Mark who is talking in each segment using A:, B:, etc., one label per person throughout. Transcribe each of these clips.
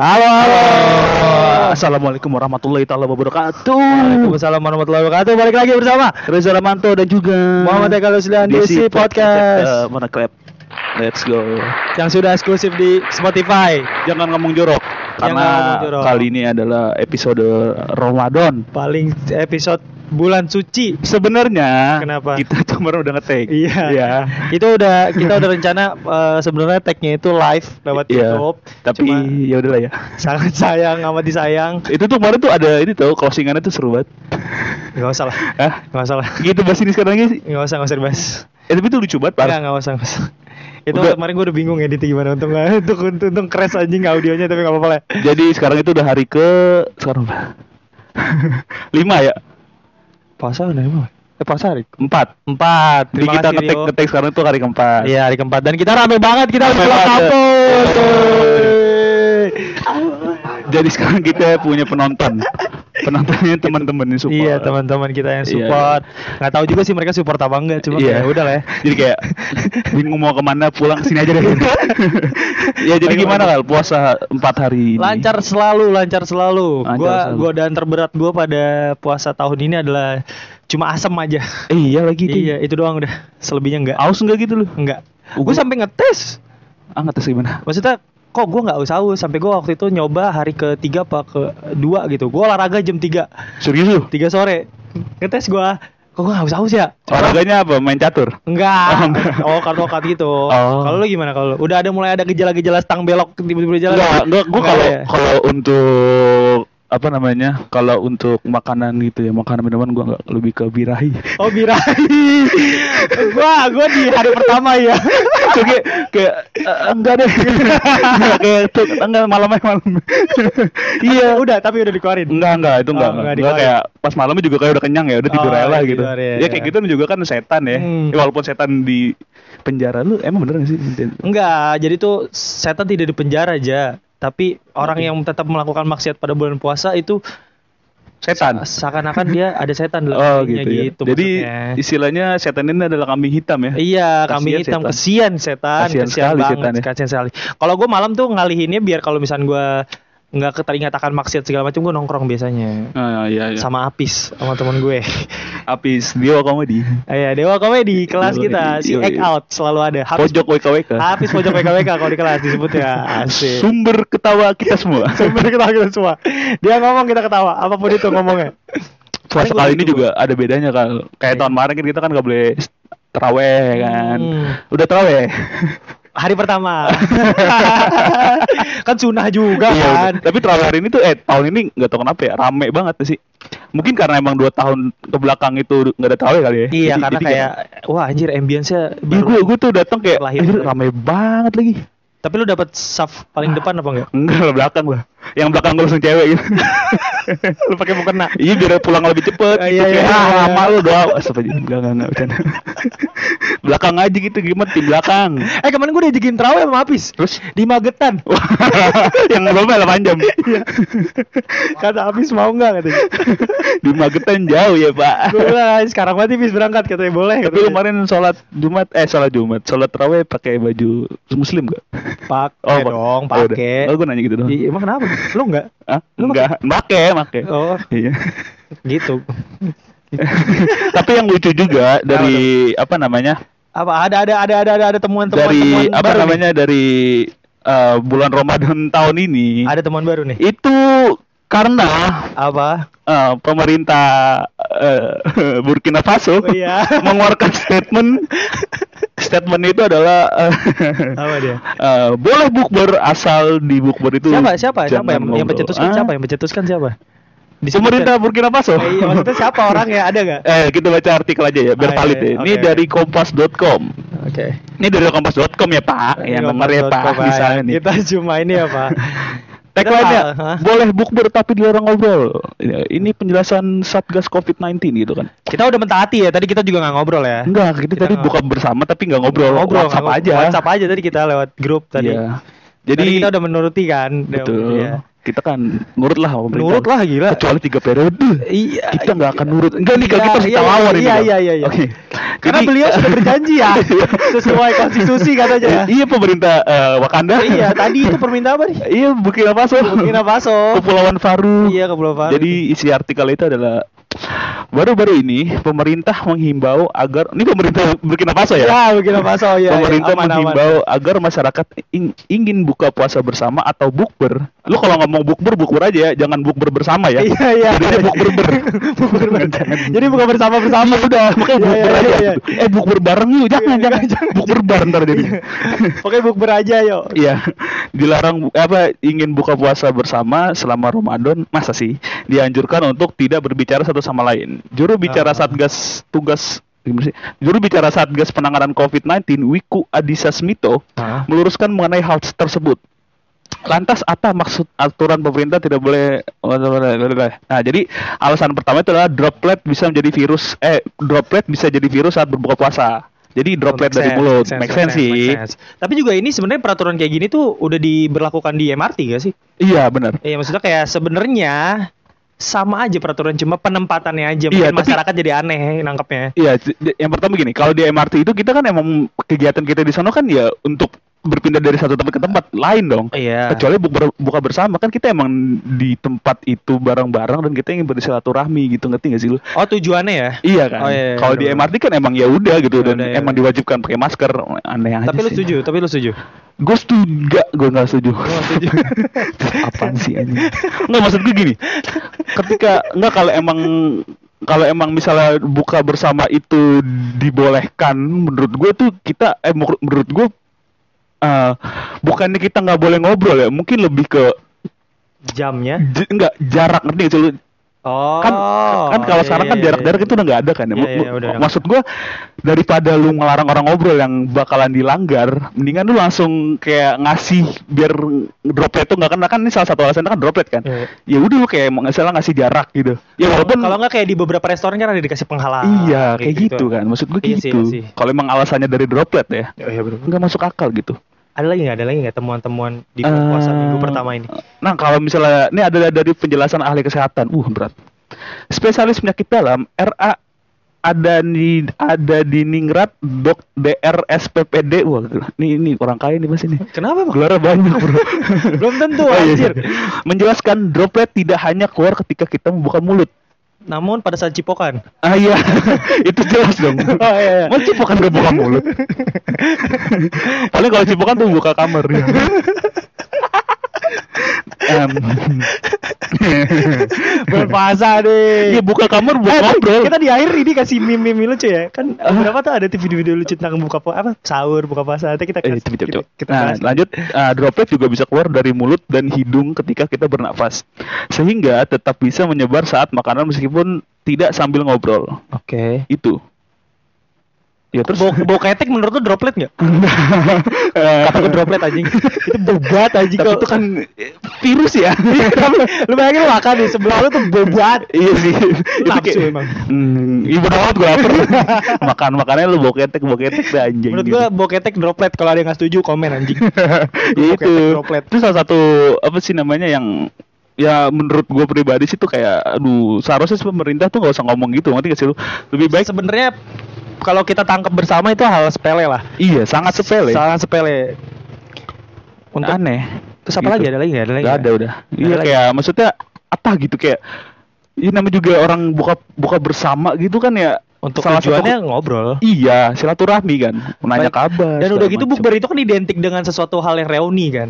A: Halo, halo. Assalamualaikum warahmatullahi taala wabarakatuh.
B: Waalaikumsalam warahmatullahi wabarakatuh. Balik lagi bersama
A: Reza Ramanto dan juga
B: Muhammad Eka Ruslan di Si
A: Desi
B: Podcast
A: Eh, mana clap? Let's go.
B: yang sudah eksklusif di Spotify.
A: Jangan ngomong jorok karena
B: Jangan ngomong jorok.
A: kali ini adalah episode Ramadan.
B: Paling episode bulan suci.
A: Sebenarnya
B: Kenapa?
A: kita cuma udah ngetek.
B: Iya. Itu udah kita udah rencana eh, sebenarnya tag-nya itu live lewat
A: Iya.
B: YouTube.
A: Tapi
B: Cuma
A: ya udahlah ya.
B: sangat sayang amat disayang.
A: Itu tuh kemarin tuh ada ini tuh closingannya tuh seru banget.
B: Enggak usah lah.
A: Hah?
B: Enggak usah lah.
A: Gitu bahas ini sekarang guys.
B: Enggak usah, enggak usah dibahas.
A: Eh, tapi itu lucu banget, Pak.
B: Enggak, enggak usah, enggak usah. Itu
A: Udah.
B: kemarin gue udah bingung edit gimana untung nggak- untung untung, untung crash anjing audionya tapi enggak apa-apa lah.
A: Jadi sekarang itu udah hari ke sekarang berapa? lima ya
B: Pasar udah emang. Eh pasar.
A: empat.
B: Empat.
A: Jadi
B: Terima
A: kita
B: kasih,
A: ngetek
B: Rio.
A: ngetek sekarang itu hari keempat.
B: Iya hari keempat dan kita rame banget kita
A: Rame
B: harus pulang
A: banget.
B: kampus.
A: Jadi sekarang kita punya penonton. Penontonnya teman-teman yang support.
B: Iya teman-teman kita yang
A: Iya,
B: support. Nggak tahu juga sih mereka support apa enggak cuma
A: Iya.
B: ya udah lah ya.
A: Jadi kayak bingung mau kemana pulang sini aja deh. ya jadi gimana kal puasa empat hari ini?
B: Lancar selalu, lancar selalu.
A: Lancar
B: gua
A: selalu.
B: godaan terberat gua pada puasa tahun ini adalah cuma asem aja.
A: Eh, iya lagi tuh.
B: Iya, itu doang udah. Selebihnya enggak.
A: Aus enggak gitu lu?
B: Enggak.
A: Uh,
B: Gue
A: gua-
B: sampai ngetes.
A: Ah ngetes gimana?
B: Maksudnya kok gua nggak usah aus sampai gua waktu itu nyoba hari ketiga apa kedua gitu. Gua olahraga jam 3.
A: Serius lu?
B: 3 sore. Ngetes gua. Kok gua nggak haus haus ya?
A: Olahraganya apa? Main catur? Oh,
B: Enggak.
A: enggak.
B: Oh, kartu okat gitu.
A: Oh.
B: Kalau lu gimana kalau lu? Udah ada mulai ada gejala-gejala stang belok tiba-tiba di jalan.
A: Enggak, Iya, enggak, gua
B: Enggak
A: kalau
B: ada ya?
A: kalau untuk apa namanya? Kalau untuk makanan gitu ya, makanan minuman gua enggak lebih ke birahi.
B: Oh, birahi. gua gua di hari pertama ya.
A: Oke, kayak eh, enggak deh. Enggak, kayak tuh enggak malamnya malam.
B: iya, udah tapi udah dikeluarin.
A: Enggak, enggak,
B: Oh,
A: itu enggak. enggak,
B: enggak
A: enggak
B: dikeluarin.
A: kayak pas malamnya juga kayak udah kenyang ya, udah tidur
B: Oh,
A: aja lah
B: udah
A: gitu.
B: tidur, iya,
A: ya, kayak
B: iya.
A: gitu juga kan setan ya.
B: Hmm.
A: Ya, walaupun setan di penjara lu emang bener gak sih?
B: Enggak, jadi tuh setan tidak dipenjara aja. Tapi orang yang tetap melakukan maksiat pada bulan puasa itu
A: Setan.
B: seakan-akan dia ada setan dalam
A: Oh
B: dirinya
A: gitu. ya. Jadi
B: iya, maksudnya.
A: istilahnya setan ini adalah kambing hitam ya.
B: Iya,
A: Kasian
B: kambing hitam
A: setan.
B: kesian setan,
A: Kasian sekali
B: banget,
A: setan ya.
B: kasian sekali. Kalau gue malam tuh ngalihinnya biar kalau misalnya gue nggak keteringat akan maksiat segala macam gue nongkrong biasanya
A: Ah, iya, iya.
B: sama Apis sama temen gue.
A: Apis Dio komedi.
B: Iya, Dewa Komedi kelas
A: Dewa
B: kita
A: Komedi,
B: si
A: yoi.
B: Act Out selalu ada. Habis-
A: Iya, Pojok WKWK.
B: Habis pojok WKWK kalau di kelas disebut ya. Asik.
A: Sumber ketawa kita semua.
B: Sumber ketawa kita semua. Dia ngomong kita ketawa, apapun itu ngomongnya. Paling
A: Puasa kali
B: gua
A: ini
B: gitu,
A: juga ada bedanya kal. Kayak tahun kemarin kan kita kan nggak boleh teraweh kan.
B: Hmm.
A: Udah teraweh.
B: Hari pertama. kan sunah juga
A: Iya,
B: kan.
A: udah. Tapi teraweh hari ini tuh eh tahun ini nggak tahu kenapa ya rame banget sih. Mungkin karena emang dua tahun ke belakang itu nggak ada teraweh kali
B: Iya
A: ya. Jadi-
B: karena
A: jadi
B: kayak wah anjir ambience-nya
A: Iya
B: baru.
A: gue gue tuh datang kayak
B: Terlahir.
A: "Anjir, rame banget lagi.
B: Tapi lu dapat saf
A: Ah.
B: paling depan apa enggak?
A: Enggak lah belakang lah. Yang belakang gue langsung cewek gitu.
B: lu pakai mukena.
A: Iya biar pulang lebih cepet
B: Ah, iya,
A: gitu kayak
B: iya,
A: ah
B: iya.
A: lama lu doa astagfirullah enggak enggak enggak bercanda. belakang aja gitu gimana tim belakang
B: Eh kemarin gue diajakin terawih sama Apis
A: terus
B: di Magetan. Iya.
A: wah, yang ngobrol lah panjang
B: Kata Apis mau enggak katanya.
A: di Magetan jauh ya pak
B: gue bilang "Ah, sekarang mati Apis berangkat katanya boleh.
A: tapi
B: katanya.
A: kemarin sholat Jumat eh sholat Jumat sholat terawih pakai baju muslim gak?
B: pakai
A: Oh, pak-
B: dong,
A: oh, udah.
B: pakai.
A: Oh, gue nanya gitu doang.
B: Iya, emang kenapa? Lu enggak?
A: Hah?
B: Lu
A: Enggak, make, make.
B: Oh,
A: Iya.
B: gitu.
A: Tapi yang lucu juga dari apa namanya?
B: Apa ada ada ada ada ada, ada temuan-temuan
A: Dari
B: temuan
A: apa
B: baru nih?
A: namanya? Dari eh, bulan Ramadan tahun ini.
B: Ada temuan baru nih.
A: itu karena
B: Apa?
A: eh, pemerintah eh, Burkina
B: Oh,
A: Faso
B: iya.
A: mengeluarkan statement statement itu adalah eh,
B: Apa dia?
A: eh, boleh bukber asal di bukber itu
B: Siapa siapa siapa
A: jangan
B: yang, yang
A: ngobrol.
B: pencetuskan
A: Ah,
B: siapa? Yang pencetuskan siapa? Disebutkan.
A: pemerintah Burkina Faso
B: Eh, iya, maksudnya siapa orangnya? Ada nggak?
A: eh kita baca artikel aja ya biar
B: Ah, iya,
A: valid
B: iya.
A: ya. ini
B: Oke,
A: dari kompas.com
B: Oke.
A: ini dari kompas.com ya pak ya nomor ya pak
B: Kompas.com,
A: misalnya
B: Pak.
A: nih
B: Kita cuma ini ya Pak.
A: Tagline-nya
B: Kenal, hah?
A: boleh bukber tapi dilarang ngobrol. Ya, Ini penjelasan Satgas COVID-19 gitu kan.
B: Kita udah mentaati ya. Tadi kita juga nggak ngobrol ya.
A: Enggak, kita,
B: Kita
A: tadi
B: nggak-
A: buka bersama tapi nggak ngobrol.
B: Ngobrol
A: WhatsApp
B: nggak-
A: aja.
B: WhatsApp aja tadi kita lewat grup tadi.
A: Iya. Jadi
B: Karena kita udah menuruti kan. udah
A: betul.
B: menuruti ya.
A: Kita kan nurut lah sama pemerintah.
B: Nurut lah gila.
A: Kecuali tiga periode.
B: Iya.
A: kita nggak akan nurut. Enggak nih, kalau
B: Iya,
A: kita harus kita
B: iya,
A: lawan ini.
B: iya,
A: Bang.
B: iya, iya, iya.
A: Oke.
B: Karena
A: Jadi-
B: beliau sudah berjanji ya sesuai konstitusi katanya.
A: Iya pemerintah eh, Wakanda.
B: iya, tadi itu permintaan apa nih?
A: Iya Burkina Faso.
B: Burkina Faso.
A: Kepulauan Faru.
B: Iya, Kepulauan Faru.
A: Jadi isi artikel itu adalah baru-baru ini pemerintah menghimbau agar ini pemerintah Burkina Faso ya.
B: Ya, Burkina Faso ya. aman,
A: pemerintah
B: aman.
A: menghimbau agar masyarakat ing- ingin buka puasa bersama atau bukber. Lu kalau ngomong bukber bukber aja ya, jangan bukber bersama ya.
B: Iya, iya.
A: Jadinya bukber ber.
B: Bukber ber.
A: Jadi bukan bersama bersama udah, makanya
B: Iya,
A: bukber
B: iya,
A: aja.
B: iya,
A: Eh bukber bareng yuk, jangan
B: Iya,
A: jangan.
B: jangan.
A: Bukber bareng ntar jadi.
B: Oke, bukber aja yo.
A: Iya, dilarang bu- apa ingin buka puasa bersama selama Ramadan masa sih dianjurkan untuk tidak berbicara satu sama lain. Juru bicara
B: Ah.
A: Satgas tugas gimana sih? Juru bicara Satgas penanganan COVID-19 Wiku Adhisa Smito
B: Ah.
A: meluruskan mengenai hal tersebut. Lantas apa maksud aturan pemerintah tidak boleh Nah, jadi alasan pertama itu adalah droplet bisa menjadi virus eh droplet bisa jadi virus saat berbuka puasa. Jadi droplet
B: Make
A: dari
B: sense,
A: mulut,
B: sense,
A: make sense
B: make
A: sih.
B: sense. Tapi juga ini sebenarnya peraturan kayak gini tuh udah diberlakukan di MRT gak sih?
A: Iya, benar.
B: Iya maksudnya kayak sebenarnya sama aja peraturan cuma penempatannya aja
A: Iya,
B: mungkin
A: tapi-
B: masyarakat jadi aneh nangkepnya.
A: Iya, j- j- yang pertama gini, kalau di MRT itu kita kan emang kegiatan kita di sana kan ya untuk berpindah dari satu tempat ke tempat lain dong.
B: Iya.
A: Kecuali bu- ber- buka bersama kan kita emang di tempat itu bareng-bareng dan kita ingin bersilaturahmi gitu ngerti gak sih lu?
B: Oh tujuannya ya.
A: Iya kan.
B: Oh, iya, iya,
A: kalau di
B: bener-bener.
A: MRT kan emang ya udah gitu
B: Ya
A: dan
B: udah, ya
A: emang
B: udah.
A: diwajibkan pakai masker aneh aja.
B: Tapi lu setuju, tapi lu setuju.
A: Gue setuju, enggak, gue enggak setuju.
B: Lu nggak setuju.
A: Apaan sih anjing? Enggak maksud gue gini. Ketika enggak kalau emang kalau emang misalnya buka bersama itu dibolehkan menurut gue tuh kita eh menur- menurut gue eh bukannya kita nggak boleh ngobrol ya mungkin lebih ke
B: Jamnya.
A: j- enggak jarak ngerti nggak sih lu?
B: Oh.
A: kan kan kalau
B: iya,
A: sekarang
B: iya,
A: kan
B: iya,
A: jarak-jarak
B: iya.
A: itu udah nggak ada kan ya.
B: Iya, iya,
A: Lu-
B: udah nggak
A: maksud gua daripada lu ngelarang orang ngobrol yang bakalan dilanggar, mendingan lu langsung kayak ngasih biar droplet tuh nggak kena kan ini salah satu alasannya kan droplet kan.
B: Iya.
A: Ya udah lu kayak nggak salah ngasih jarak gitu. Ya walaupun
B: kalau nggak kayak di beberapa restoran kan ada dikasih penghalang.
A: iya kayak gitu, kan. Maksud gua
B: Iya
A: gitu.
B: sih, iya sih.
A: Kalau emang alasannya dari droplet ya,
B: Oh, iya, bener.
A: nggak masuk akal gitu.
B: Ada lagi nggak ada lagi nggak temuan-temuan di bulan puasa
A: Eh,
B: minggu pertama ini?
A: Nah, kalau misalnya ini ada dari penjelasan ahli kesehatan. Uh, berat. Spesialis penyakit dalam RA ada di ada di Ningrat Dok DR SPPD. Wah, ini ini orang kaya nih Mas ini.
B: Kenapa bang?
A: Gelarnya banyak, Bro.
B: Belum tentu
A: Oh, iya,
B: anjir.
A: iya. Menjelaskan droplet tidak hanya keluar ketika kita membuka mulut.
B: Namun pada saat cipokan.
A: Ah iya, itu jelas dong.
B: Oh, iya, iya.
A: Mau cipokan gak buka mulut. Paling kalau cipokan tuh buka kamar ya. Em.
B: Bulan puasa deh.
A: Iya buka kamar buat
B: Eh,
A: ngobrol.
B: Kita di akhir ini kasih meme-meme lucu ya. Kan
A: Ah.
B: beberapa tuh ada tuh video-video lucu tentang buka puasa apa sahur, buka puasa. Nanti kita
A: Eh,
B: kasih-
A: cep, cep,
B: kita,
A: cep.
B: kita
A: nah,
B: bahas.
A: lanjut Ah, droplet juga bisa keluar dari mulut dan hidung ketika kita bernafas, sehingga tetap bisa menyebar saat makanan meskipun tidak sambil ngobrol.
B: Oke.
A: Itu. Ya terus.
B: Bau, bau ketek menurut lu droplet enggak?
A: Kata
B: Takut droplet anjing. Itu bobat anjing
A: Eh. Tapi itu kan eh, virus ya.
B: lu bayangin lu makan di sebelah lu tuh bobat.
A: Iya sih.
B: Nafsu emang.
A: Hmm, ibu banget gue lapar. Makan makannya lu boketek boketek dah anjing.
B: Menurut
A: gitu.
B: gua bau ketek droplet kalau ada yang nggak setuju komen anjing.
A: ya
B: Droplet,
A: itu
B: droplet.
A: itu salah satu apa sih namanya yang ya menurut gue pribadi sih tuh kayak aduh seharusnya sih pemerintah tuh nggak usah ngomong gitu nanti sih lu lebih baik
B: Sebenarnya kalau kita tangkap bersama itu hal sepele lah.
A: iya sangat sepele
B: Sangat sepele. Untuk
A: aneh Gitu.
B: Terus apa lagi? Ada lagi nggak? Ada lagi
A: nggak ada
B: nggak?
A: udah
B: Nggak
A: iya
B: ada
A: kayak maksudnya apa gitu kayak ini namanya juga orang buka buka bersama gitu kan ya
B: Untuk
A: salah satu-
B: tujuannya ngobrol.
A: iya silaturahmi kan nanya
B: Baik.
A: kabar
B: Dan
A: segala
B: udah gitu
A: macem.
B: bukber itu kan identik dengan sesuatu hal yang reuni kan.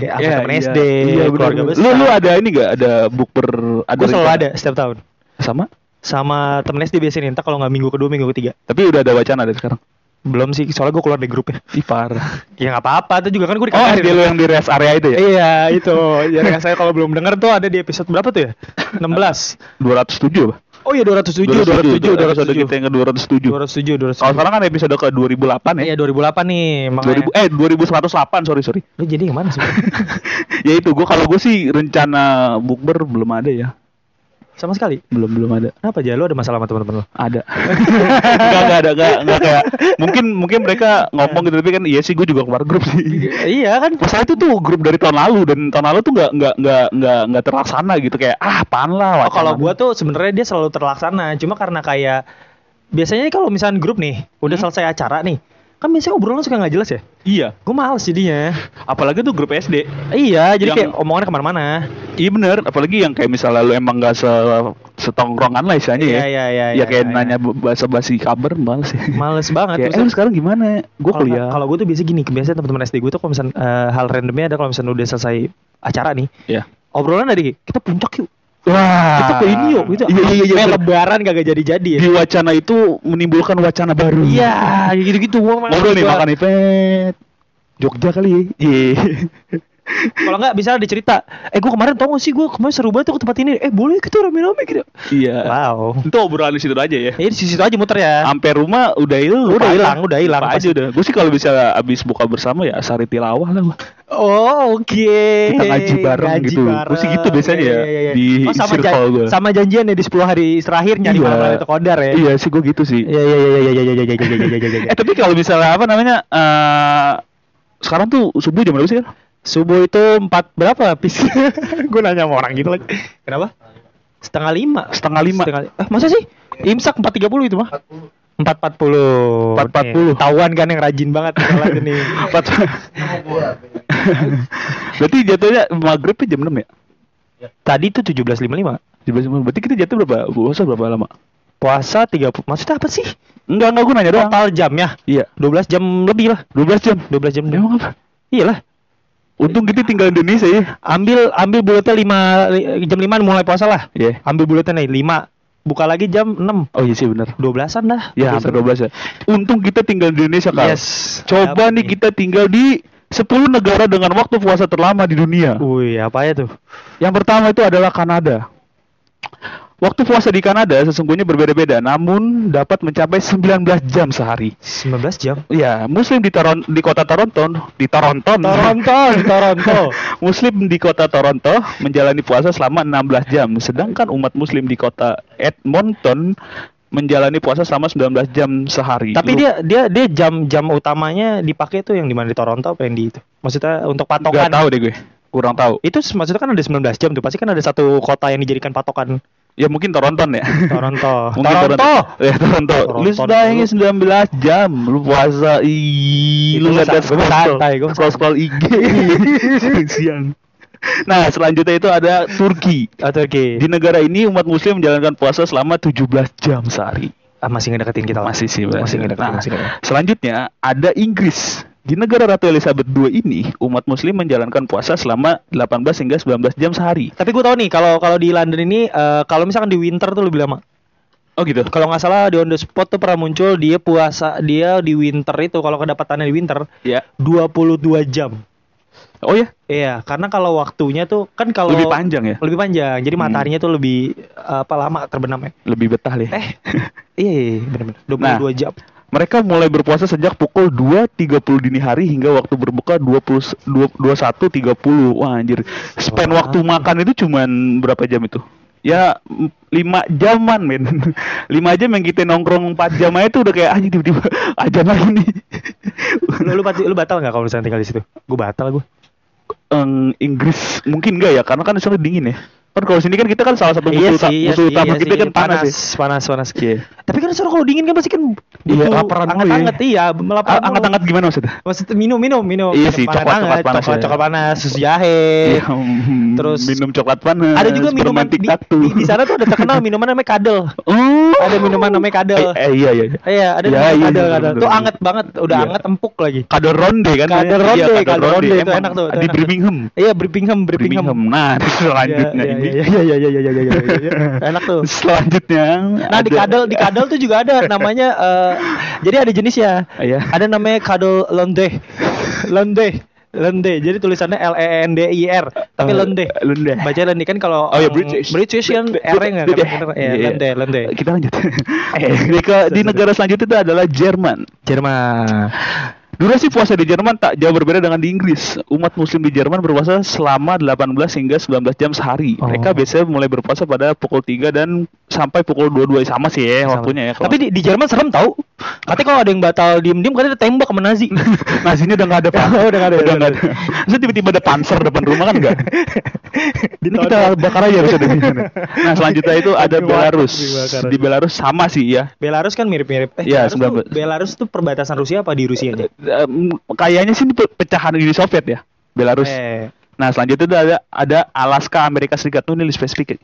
B: Kayak
A: iya,
B: angkatan SD,
A: iya,
B: keluarga
A: bener, bener.
B: besar.
A: Lu, lu ada ini gak? Ada bukber? Ada
B: Gue selalu ada
A: rencana?
B: setiap tahun.
A: Sama?
B: Sama temen SD biasanya entah kalau nggak minggu kedua minggu ketiga.
A: Tapi udah ada wacana dari sekarang.
B: Belum sih, soalnya gue keluar dari grupnya.
A: Ih parah.
B: Ya nggak apa-apa, itu juga kan gue
A: Oh, SD lu yang di rest area itu ya?
B: Iya itu. Ya yang saya kalau belum dengar tuh ada di episode berapa tuh ya? 16.
A: 207 apa?
B: Oh iya 207,
A: 207 kita
B: 207, 207.
A: yang ke
B: 207, 207.
A: 207. Kalau sekarang kan episode ke 2008 ya.
B: Iya 2008 nih, makanya.
A: 2000 eh 2108 sorry sorry.
B: Lu jadi yang mana sih?
A: ya itu gua kalau gua sih rencana bukber belum ada ya.
B: Sama sekali.
A: belum belum ada
B: Kenapa aja lu ada masalah sama teman-teman lu?
A: ada nggak nggak ada nggak nggak kayak mungkin mungkin mereka ngomong gitu tapi kan iya sih gue juga keluar grup sih
B: iya kan?
A: masalah itu tuh grup dari tahun lalu dan tahun lalu tuh nggak nggak nggak nggak nggak terlaksana gitu kayak ah pan lah
B: Oh, kalau
A: wacana.
B: gua tuh sebenarnya dia selalu terlaksana, cuma karena kayak biasanya kalau misalnya grup nih, udah
A: Hmm?
B: selesai acara nih, kan biasanya obrolan suka nggak jelas ya.
A: iya
B: Gue males jadinya.
A: apalagi tuh grup SD
B: Iya, jadi
A: Yang-
B: kayak omongannya kemana-mana.
A: iya bener apalagi yang kayak misalnya lu emang nggak se setongkrongan lah istilahnya
B: Iya,
A: ya
B: iya, iya,
A: ya
B: iya,
A: kayak
B: iya.
A: nanya bahasa basi kabar males sih
B: Males banget.
A: kayak, eh
B: Terus-
A: lu sekarang gimana gue
B: Kalau-
A: kuliah
B: Kalau gue tuh biasa gini, kebiasaan teman-teman SD gue tuh kalau misalnya eh, hal randomnya ada kalau misalnya udah selesai acara nih,
A: ya
B: obrolan dari kita puncak yuk,
A: wah
B: Iya. kita ke ini yuk, gitu.
A: iya iya iya
B: Kayak
A: bener. Iya,
B: lebaran kagak jadi-jadi. ya.
A: di wacana itu menimbulkan wacana baru
B: Iya, kayak gitu-gitu. Gua males
A: ngobrol nih
B: gua.
A: makan ipet Jogja kali ya Iya.
B: Kalau nggak bisa ada cerita. Eh gue kemarin tau gak sih gue kemarin seru banget tuh ke tempat ini. Eh boleh kita rame-rame gitu.
A: iya
B: Wow.
A: itu obrolan di situ aja ya
B: Ya di situ aja muter ya.
A: sampai rumah udah hilang
B: Udah hilang, udah hilang.
A: Lupa aja udah gue sih kalau bisa abis buka bersama ya sari tilawah lah gua.
B: Oh oke.
A: Kita ngaji bareng gitu. Gua sih gitu biasanya ya, di
B: oh, sama,
A: circle
B: jan-
A: gua.
B: sama janjian ya di 10 hari terakhir nyari
A: Iya.
B: malam itu kodar ya.
A: iya sih gue gitu sih
B: Iya iya iya iya iya iya iya iya iya iya iya.
A: eh tapi kalau misalnya apa namanya eh sekarang tuh subuh jam berapa sih kan
B: Subuh itu empat berapa pis? gue nanya sama orang gitu lagi. Kenapa? Setengah lima.
A: Setengah lima.
B: li- Eh, masa sih? Imsak empat tiga puluh itu mah? Empat empat puluh.
A: 4.40.
B: Tawan kan yang rajin banget kalau itu nih.
A: Empat. berarti jatuhnya maghribnya jam enam ya
B: Tadi itu tujuh belas lima lima.
A: jam enam berarti kita jatuh berapa puasa berapa lama
B: Puasa tiga puluh. Maksudnya apa sih?
A: enggak enggak gue nanya Ya doang
B: Total jamnya?
A: iya
B: Dua belas jam lebih lah.
A: 12 jam
B: Dua belas jam.
A: emang apa
B: Iya lah.
A: untung kita tinggal Indonesia ya
B: Ambil ambil bulatnya lima li- jam lima mulai puasa lah.
A: Iya.
B: Ambil bulatnya nih lima. Buka lagi jam enam.
A: oh iya sih benar
B: Dua belasan dah. Gitu.
A: Ya hampir 12 ya. Untung kita tinggal di Indonesia kan.
B: Yes.
A: Coba
B: Apa nih?
A: nih kita tinggal di 10 negara dengan waktu puasa terlama di dunia.
B: Wih, apa ya tuh?
A: Yang pertama itu adalah Kanada. Waktu puasa di Kanada sesungguhnya berbeda-beda, namun dapat mencapai 19 jam sehari.
B: 19 jam.
A: Ya, Muslim di Toron di kota Toronto, di Toronto.
B: Toronto, di Toronto.
A: Muslim di kota Toronto menjalani puasa selama 16 jam, sedangkan umat Muslim di kota Edmonton menjalani puasa selama 19 jam sehari.
B: Tapi
A: Lu-
B: dia dia dia jam-jam utamanya dipakai tuh yang di mana di Toronto apa yang di itu? Maksudnya untuk patokan.
A: Gak tahu deh gue. Kurang tahu.
B: Itu se- maksudnya kan ada 19 jam tuh, pasti kan ada satu kota yang dijadikan patokan.
A: Ya mungkin Toronto ya.
B: Toronto.
A: Mungkin
B: Toronto.
A: Ya Toronto.
B: Toronto
A: Lu
B: dulu.
A: bayangin 19 jam lu puasa. Ih,
B: Itu
A: lu
B: gua
A: lihat
B: sa- gua santai, gua
A: scroll scroll IG siang. Nah, selanjutnya itu ada Turki.
B: Oh, Turki.
A: Di negara ini umat muslim menjalankan puasa selama 17 jam sehari.
B: Ah, masih ngedeketin kita. lah.
A: Masih sih
B: masih
A: berhasil.
B: ngedeketin,
A: Nah,
B: masih ngedeketin.
A: Selanjutnya ada Inggris. Di negara Ratu Elizabeth II ini, umat muslim menjalankan puasa selama 18 hingga 19 jam sehari.
B: Tapi gue tau nih kalau kalau di London ini eh, kalau misalkan di winter tuh lebih lama.
A: Oh gitu.
B: Kalau nggak salah di on the spot tuh pernah muncul dia puasa dia di winter itu kalau kedapatannya di winter
A: Ya.
B: 22 jam.
A: Oh ya,
B: Iya, karena kalau waktunya tuh kan kalau
A: Lebih panjang ya?
B: Lebih panjang. Jadi
A: Hmm.
B: mataharinya tuh lebih apa lama terbenamnya.
A: lebih betah deh.
B: Eh, iya, iya, iya benar-benar. 22
A: Nah.
B: jam.
A: Mereka mulai berpuasa sejak pukul 2.30 dini hari hingga waktu berbuka 20 21.30. Wah anjir. Span
B: Wah.
A: waktu makan itu cuman berapa jam itu? Ya 5 jaman men 5 jam yang kita nongkrong 4 jam aja tuh udah kayak anjing tiba-tiba aja lagi nih
B: Lu lu, bat- lu batal nggak kalau misalnya tinggal di situ? Gue batal gue.
A: Eng, Inggris mungkin enggak ya karena kan di sana dingin ya Kan kalau sini kan kita kan salah satu
B: Iya
A: musuh, uta- musuh utama kita kan panas,
B: panas,
A: ya
B: panas, panas.
A: Iya.
B: Tapi kan seru kalau dingin kan pasti kan
A: Iya, laparan dulu ya.
B: anget-anget iya, melaparan.
A: A- Anget-anget gimana maksudnya?
B: Maksudnya minum, minum, minum.
A: Iya
B: Minum
A: sih,
B: panas
A: coklat-coklat
B: anget,
A: panas
B: Coklat,
A: ya.
B: coklat panas, susu jahe.
A: Iya, hmm,
B: Ya terus-
A: minum coklat panas
B: Ada juga minuman
A: permen
B: di,
A: tiktok tuh.
B: di, di sana tuh ada terkenal minuman namanya kadel.
A: Oh.
B: Ada minuman namanya kadel.
A: Eh, eh, iya iya. iya.
B: Iya, ada
A: Ya,
B: minuman
A: iya,
B: kadel, kadel.
A: bener, bener,
B: Tuh
A: bener.
B: anget banget, udah
A: Iya.
B: anget empuk lagi.
A: Kadel ronde kan?
B: Kadel
A: namanya?
B: ronde,
A: Iya,
B: kadel ronde, itu
A: Emang
B: enak tuh, itu
A: Di
B: enak tuh.
A: Birmingham.
B: Iya, Birmingham, Birmingham.
A: Birmingham. Nah, selanjutnya
B: Iya,
A: ini.
B: iya, iya, iya, iya, iya, iya, iya, iya, iya. Enak tuh.
A: Selanjutnya.
B: Nah, di
A: ada-
B: kadal, di kadal tuh juga ada namanya eh jadi ada jenisnya.
A: Iya.
B: Ada namanya kadal londe. Londe. Londe. Jadi tulisannya L E N D I R, tapi
A: Eh,
B: londe.
A: londe.
B: Baca londe kan kalau
A: Oh ya
B: orang
A: British.
B: Oh. British kan
A: Brit-
B: R enggak
A: Brit-
B: kan.
A: Iya,
B: Ya,
A: iya.
B: londe, londe.
A: Kita lanjut. Eh, di, ke- di negara selanjutnya itu adalah Jerman.
B: Jerman.
A: Durasi puasa di Jerman tak jauh berbeda dengan di Inggris. Umat muslim di Jerman berpuasa selama 18 hingga 19 jam sehari.
B: Oh.
A: Mereka biasanya mulai berpuasa pada pukul 3 dan sampai pukul 22 sama sih ya waktunya ya.
B: Tapi di, di Jerman serem tau. Katanya kalau ada yang batal diem-diem katanya ditembak sama Nazi.
A: Nah sini udah nggak ada pak,
B: Oh, udah nggak ada,
A: udah
B: udah
A: nggak ada. Terus tiba-tiba ada panser depan rumah kan enggak? Ini kita bakar aja bisa di sini. Nah selanjutnya itu ada
B: Dibakar,
A: Belarus.
B: dibakar.
A: Di Belarus sama sih ya.
B: Belarus kan mirip-mirip. Eh,
A: Iya,
B: Belarus, tuh,
A: 19.
B: Belarus tuh perbatasan Rusia apa di Rusia aja?
A: Em, kayaknya sih ini pe- pecahan Uni Soviet ya, Belarus.
B: Eh,
A: Nah selanjutnya itu ada ada Alaska Amerika Serikat tuh ini lebih spesifik.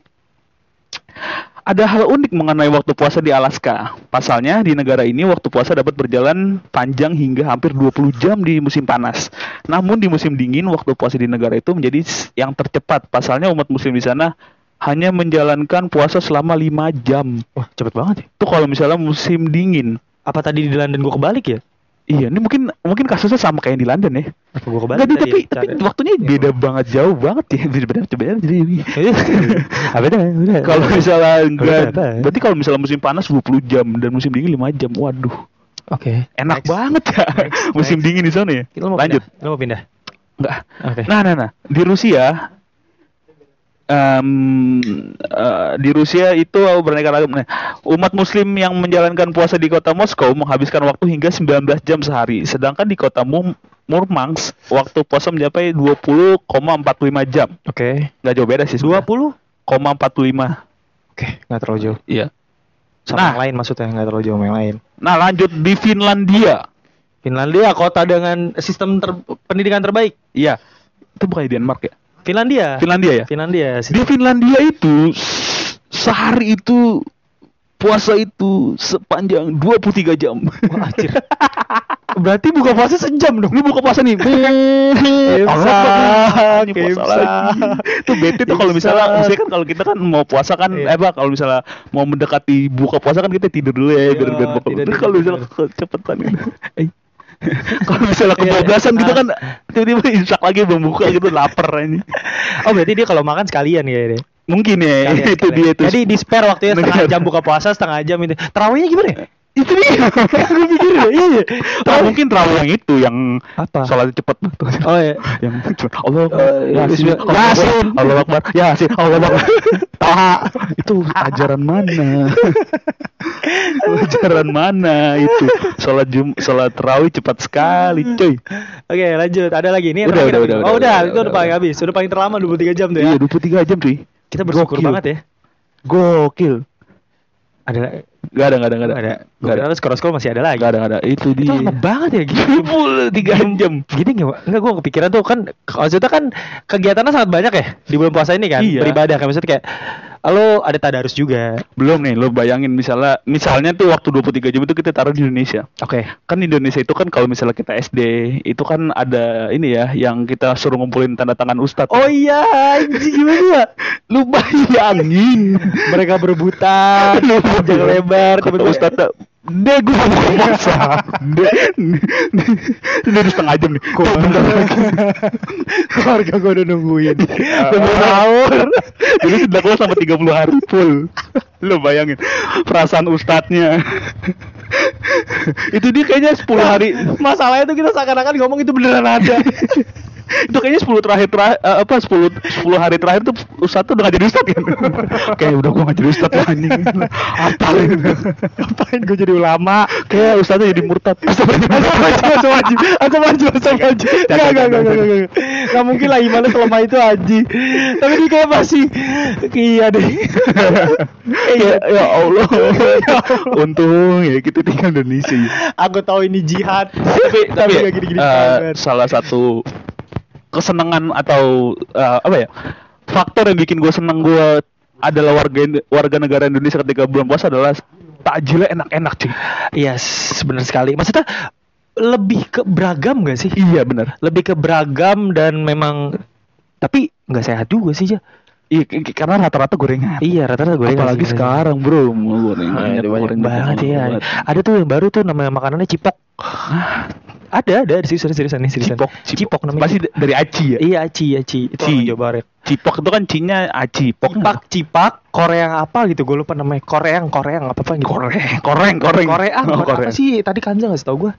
A: Ada hal unik mengenai waktu puasa di Alaska. Pasalnya di negara ini waktu puasa dapat berjalan panjang hingga hampir 20 jam di musim panas. Namun di musim dingin waktu puasa di negara itu menjadi s- yang tercepat. Pasalnya umat muslim di sana hanya menjalankan puasa selama 5 jam.
B: wah cepet banget ya.
A: Itu kalau misalnya musim dingin.
B: Apa tadi di London gua kebalik ya?
A: Iya, ini mungkin mungkin kasusnya sama kayak yang di London ya.
B: Apa gua kebalik?
A: Enggak,
B: tadi
A: tapi, tapi,
B: ya?
A: tapi
B: Cara-
A: waktunya
B: Iya.
A: beda banget, jauh banget ya. Beda, beda, beda, jadi ini.
B: Apa dah? udah.
A: Kalau misalnya enggak,
B: Apa?
A: berarti kalau misalnya musim panas 20 jam dan musim dingin 5 jam. Waduh,
B: Oke.
A: enak
B: Next.
A: banget ya.
B: Next,
A: musim
B: next.
A: dingin di sana ya.
B: Kita mau
A: Lanjut.
B: Pindah. Kita mau pindah.
A: Enggak.
B: Oke.
A: Nah, nah, nah. Di Rusia em, eh, di Rusia itu beraneka ragam. Nah, umat muslim yang menjalankan puasa di kota Moskow menghabiskan waktu hingga 19 jam sehari, sedangkan di kota Mur- Murmansk waktu puasa mencapai 20,45 jam.
B: Oke.
A: Nggak jauh beda sih.
B: Dua puluh.
A: 20,45.
B: Oke. Nggak terlalu jauh.
A: Iya.
B: Sama
A: Nah.
B: yang lain maksudnya nggak terlalu jauh sama yang lain.
A: Nah, lanjut di Finlandia.
B: Finlandia kota dengan sistem ter- pendidikan terbaik.
A: Iya. Itu bukan di Denmark ya?
B: Finlandia.
A: Finlandia ya?
B: Finlandia.
A: Di Finlandia itu s- sehari itu puasa itu sepanjang 23 jam.
B: Wah, anjir.
A: Berarti buka puasa sejam dong. Lu buka puasa nih. Allah, ini puasa
B: Imsak.
A: lagi. Itu bete tuh kalau misalnya, misalnya kan kalau kita kan mau puasa kan,
B: Iya.
A: eh apa kalau misalnya mau mendekati buka puasa kan kita tidur dulu ya,
B: Iya,
A: biar biar buka.
B: tidur,
A: Tapi
B: tidur,
A: kalau misalnya kecepetan gitu. Eh. kalau misalnya
B: Iya, iya.
A: kebablasan kita
B: Ah.
A: kan tiba-tiba imsak lagi belum buka gitu lapar ini.
B: Oh, berarti dia kalau makan sekalian ya deh.
A: Mungkin ya
B: Sekalian,
A: itu
B: sekalian.
A: dia itu.
B: Jadi di spare waktunya setengah
A: Negara.
B: jam buka puasa, setengah jam itu. Tarawihnya gimana ya?
A: itu dia. Gue pikir ya, iya. Terawih. mungkin terawih yang itu yang
B: Apa?
A: sholat cepat tuh.
B: Oh iya.
A: yang cuma Allah Akbar,
B: Eh,
A: Yasin
B: Bismillah.
A: Allah Akbar,
B: Yasin.
A: Allah Akbar Yasin Allah Akbar Taha itu ajaran mana ajaran mana itu sholat jum sholat terawih cepat sekali cuy
B: Oke, lanjut. Ada lagi nih. yang
A: Udah,
B: terakhir
A: udah,
B: habis.
A: udah,
B: Oh, udah,
A: udah, udah,
B: itu udah
A: udah,
B: paling
A: udah.
B: habis. Udah paling terlama 23 jam tuh ya.
A: iya 23 jam cuy
B: Kita bersyukur
A: Gokil.
B: banget ya.
A: gokil
B: Ada
A: gak ada gak ada gak ada
B: ada.
A: gak ada
B: Ada scroll-scroll masih ada lagi.
A: gak ada gak ada
B: Itu
A: itu dia
B: lama banget ya gitu.
A: 23 jam
B: Gini nggak, Wak? nggak gue kepikiran tuh kan maksudnya kan kegiatannya sangat banyak ya di bulan puasa ini kan
A: Iya.
B: beribadah kan maksudnya kayak lo ada tadarus juga.
A: belum nih lo bayangin misalnya misalnya tuh waktu 23 jam itu kita taruh di Indonesia
B: Oke.
A: kan di Indonesia itu kan kalau misalnya kita SD itu kan ada ini ya yang kita suruh ngumpulin tanda tangan ustadz
B: Oh iya, anjing gimana ya?
A: lu bayangin
B: Mereka berebutan,
A: Lu
B: panjang
A: bayangin.
B: lebar,
A: kata
B: tiba-tiba-
A: ustadz deh gue mau buka puasa deh ini udah setengah jam nih Tuh, bentar lagi
B: Keluarga gue udah nungguin.
A: Bener sahur Jadi tidak keluar sampai 30 hari full Lo bayangin Perasaan ustadznya Itu dia kayaknya 10 hari
B: Masalahnya tuh kita seakan-akan ngomong itu beneran ada.
A: itu kayaknya 10 terakhir terakhir eh, apa 10 10 hari terakhir tuh ustadz tuh udah gak jadi ustadz kan kayak udah gua gak jadi ustadz lah anjing apa ini
B: Ngapain gue jadi ulama?
A: kayak ustadznya jadi murtad
B: Asal aja, asal aja, asal aja. Enggak, enggak, enggak, enggak, enggak. Enggak mungkin lah imannya selama itu aji. Tapi dia kayak masih iya deh.
A: ya, Eh, ya Allah untung ya kita tinggal di Indonesia ya.
B: Aku tahu ini jihad.
A: tapi tapi
B: nggak gini-gini
A: eh,
B: banget.
A: salah satu kesenangan atau eh, apa ya faktor yang bikin gue seneng gue adalah warga Ind- warga negara Indonesia ketika bulan puasa adalah takjilnya enak-enak cuy
B: Yes, benar Iya, sekali. Maksudnya lebih ke beragam gak sih?
A: iya benar
B: Lebih ke beragam dan memang tapi nggak sehat juga sih ya.
A: Iya, k- k- karena rata-rata gorengan.
B: Iya rata-rata gorengan
A: Apalagi
B: sih.
A: sekarang, Bro, mau
B: Banyak,
A: gorengan. Banyak
B: banyak
A: gorengan
B: banget ya.
A: banget.
B: Ada tuh yang baru tuh namanya makanannya cipok. Ada ada serius serius seriusan nih seriusan.
A: Cipok,
B: cipok, namanya.
A: Pasti d- dari aci ya.
B: Iya aci aci itu
A: Ci.
B: orang Jawa Barat.
A: Cipok itu kan cinya aci, pok.
B: Cipak cipak Korea apa gitu gue lupa namanya Koreang Koreang apa apa gitu.
A: Koreng, koreng, koreng.
B: Korea,
A: Oh,
B: apa
A: koreng.
B: sih tadi Kanza nggak setahu gue.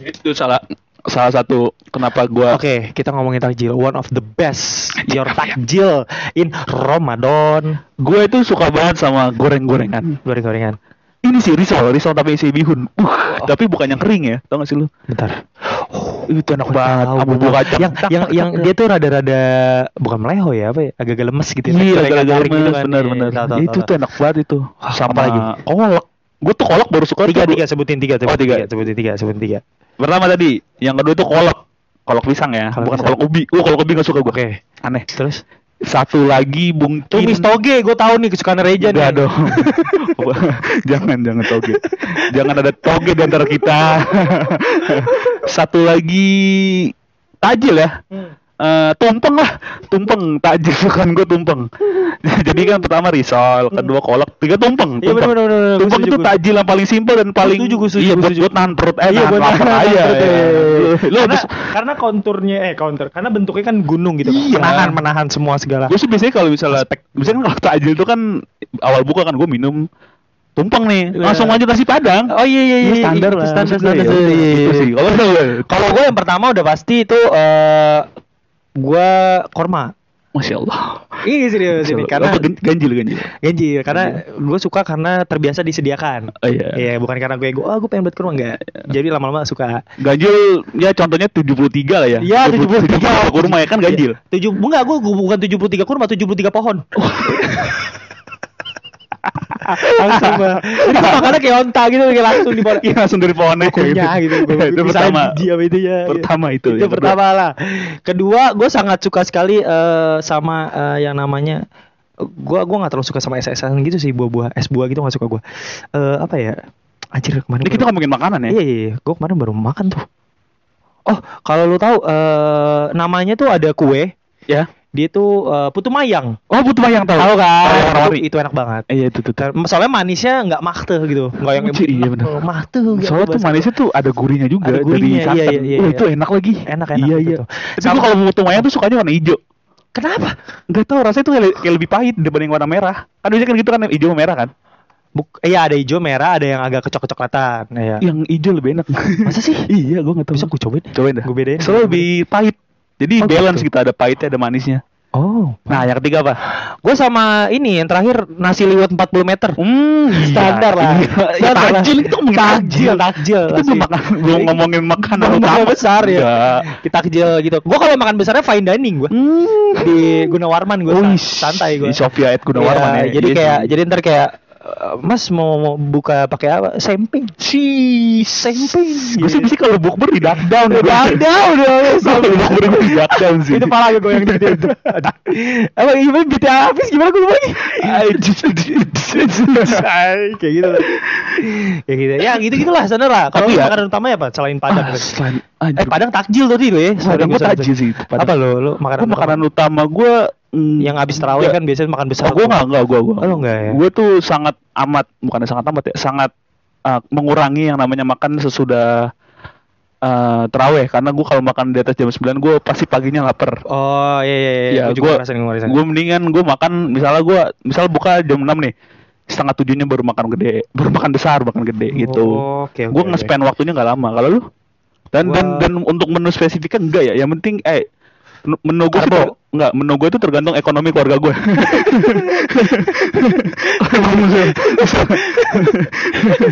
A: itu salah salah satu kenapa gua
B: Oke, kita ngomongin takjil. One of the best your takjil in Ramadan. kan.
A: gua itu suka banget sama
B: Hmm.
A: goreng-gorengan.
B: Goreng-gorengan.
A: Ini sih risol, risol tapi isi bihun. Uh,
B: Oh.
A: tapi bukan yang kering ya, tau gak sih lu?
B: Bentar.
A: Uh, Itu enak banget.
B: Tahu,
A: Abu
B: gua tahu.
A: kacang.
B: Yang
A: tak,
B: yang
A: tak,
B: yang
A: tak,
B: dia tuh rada-rada bukan meleho ya, apa ya? Agak-agak lemes gitu ya.
A: Iya,
B: Kayak
A: gara-gara
B: tarik gitu
A: gitu
B: kan. Iya,
A: benar-benar.
B: iya, tahu, tahu,
A: Itu
B: tahu,
A: tuh enak banget itu.
B: Wah,
A: Sama
B: apa lagi?
A: lagi. Kolok. Gue tuh kolok baru
B: tahu.
A: suka
B: Tiga
A: tuh.
B: tiga sebutin Oh, tiga sebutin
A: tiga.
B: sebutin tiga sebutin tiga.
A: Pertama tadi, yang kedua tuh kolok. Kolok pisang ya,
B: Kolok
A: bukan
B: pisang.
A: kolok ubi. Gua kolok ubi gak suka gue.
B: Oke.
A: Aneh.
B: Terus
A: Satu lagi mungkin
B: tumis toge, gue tahu nih kesukaan Reja nih.
A: Enggak dong. jangan jangan toge. Jangan ada toge di antara kita. Satu lagi tajil ya.
B: Hmm.
A: Eh, tumpeng lah, tumpeng takjil bukan gue tumpeng. Jadi kan pertama risol, kedua kolak, tiga
B: Hmm.
A: tumpeng.
B: Iya,
A: tumpeng.
B: bener, bener, bener, bener. Gua
A: Tumpeng itu
B: setuju, gua.
A: takjil yang paling simpel dan paling
B: Setuju, gua setuju,
A: iya
B: gua
A: buat
B: setuju.
A: buat nahan perut eh
B: Iya,
A: nahan
B: buat
A: lapar
B: nahan
A: aja.
B: perut,
A: ya.
B: iya, iya, iya.
A: Lu
B: karena,
A: habis-
B: karena konturnya eh kontur, karena bentuknya kan gunung gitu.
A: Iya.
B: Menahan menahan semua segala.
A: gue sih biasanya kalau misalnya misalnya kan kalau takjil itu kan awal buka kan gue minum tumpeng nih
B: Iya.
A: langsung lanjut nasi padang
B: Oh iya iya
A: Iya,
B: iya.
A: standar
B: itu
A: lah.
B: Standar
A: Maksud
B: standar.
A: gue ya,
B: iya, iya,
A: Itu sih.
B: iya.
A: Kalau lu
B: Kalau gue yang pertama udah pasti itu eh gua korma.
A: Masya Allah.
B: Iya serius
A: Masya
B: ini
A: Allah.
B: karena
A: Apa, gan- ganjil ganjil.
B: ganjil karena gue suka karena terbiasa disediakan.
A: Oh, iya.
B: Iya, bukan karena gue gue ah gue pengen buat korma enggak. Jadi lama-lama suka.
A: Ganjil ya contohnya 73 lah ya.
B: Iya,
A: 73
B: 73
A: kurma ya kan ganjil.
B: Iya, Tujuh enggak gue bukan 73 kurma 73 pohon. langsung Mbak. Jadi gua makannya kayak onta gitu kayak langsung di bawah.
A: Iya langsung dari pohonnya
B: Kukunya gitu. gua-
A: Itu
B: gua pisahin
A: pertama.
B: biji apa itu ya.
A: Pertama itu,
B: Itu
A: yang kedua.
B: pertama lah. Kedua, gue sangat suka sekali eh, sama eh, yang namanya gue gua nggak terlalu suka sama es esan gitu sih buah-buah es buah gitu nggak suka gue. Eh apa ya? Anjir kemarin.
A: Ini kita
B: baru-
A: ngomongin makanan ya.
B: Iya iya, iya. gue kemarin baru makan tuh. Oh, kalau lu tahu eh namanya tuh ada kue,
A: Ya.
B: dia tuh eh, putu mayang.
A: Oh butuh bayang tahu.
B: Tahu
A: Tahu
B: kan?
A: warna-warni.
B: Itu, itu enak banget.
A: Iya itu tuh.
B: Ter- Soalnya manisnya nggak makte gitu, nggak yang
A: Iya, iya, bener.
B: Makte. gitu
A: Soalnya tuh
B: bahasa-
A: manisnya tuh ada gurihnya juga
B: Ada gurihnya,
A: dari santan.
B: iya, iya, iya,
A: Wah,
B: iya.
A: itu enak lagi.
B: Enak, enak
A: Iya
B: itu
A: iya.
B: tuh.
A: Tapi gua
B: Sama-
A: kalau butuh mayang tuh sukanya warna hijau.
B: Kenapa?
A: Gak tau rasanya tuh kayak kayak lebih pahit dibanding warna merah. Kan biasanya kan gitu kan hijau sama merah kan.
B: Buk iya ada hijau merah, ada yang agak kecok-kecoklatan. Iya.
A: Yang hijau lebih enak.
B: Masa sih?
A: iya, gua enggak tahu.
B: Bisa gue cobain.
A: Cobain dah.
B: Gue bedain.
A: Soalnya lebih pahit. Jadi
B: Oh,
A: balance
B: gitu.
A: kita ada pahitnya ada manisnya.
B: Oh.
A: Nah, yang ketiga apa?
B: Gue sama ini yang terakhir nasi liwet 40 meter.
A: Hmm,
B: Standar lah.
A: Ya,
B: Standar lah.
A: takjil itu ngomongin
B: Takjil, takjil, Iya.
A: Kita belum
B: pasti.
A: makan, belum ngomongin makanan
B: Belum
A: utama.
B: makan besar ya.
A: Enggak.
B: Kita kecil gitu. Gue kalau makan besarnya fine dining gue.
A: Hmm.
B: Di Gunawarman gue
A: Wih,
B: santai gue.
A: Di Sofia Ed
B: Iya,
A: Gunawarman ya.
B: Jadi
A: Iya
B: kayak
A: sih.
B: jadi ntar kayak eh, Mas mau, mau buka pakai apa? Semping.
A: Cheese
B: Semping.
A: Gue sih bisa kalau bukber di duck down
B: Udah down, udah
A: Kalau bukber gue di duck down sih
B: Itu pala gue goyang gitu. Apa gimana BTA habis gimana gue lagi? Ay, kayak gitu. kayak gitu. Ya gitu gitulah sana lah. Kalau
A: Tapi ya-
B: makanan utama ya apa selain padang?
A: Ah,
B: gitu.
A: selain-
B: eh
A: anjir.
B: padang takjil tadi lo ya.
A: Padang gua
B: Sorry, sorry,
A: takjil
B: sorry.
A: sih, Padang.
B: Apa lo lo makanan?
A: Gua makanan Iya. utama mm, gue
B: utama? yang habis terawih kan biasanya makan besar.
A: gue nggak nggak gue gue
B: Oh, lu nggak ya?
A: gue tuh sangat amat bukan sangat amat ya sangat eh, mengurangi yang namanya makan sesudah eh teraweh karena gue kalau makan di atas jam 9 gue pasti paginya lapar
B: Oh iya iya iya.
A: ya
B: Gua juga
A: gue
B: ngerasain gua ngerasain.
A: gue mendingan gue makan misalnya gue misal buka jam 6 nih setengah tujuhnya baru makan gede baru makan besar makan gede gitu
B: Oh, Oke oke.
A: gue
B: oke.
A: nge-spend waktunya nggak lama kalau lu dan dan
B: Gua-
A: dan untuk menu spesifiknya enggak ya yang penting eh menu- menu gue
B: Karbo.
A: enggak menu gue itu tergantung ekonomi keluarga gue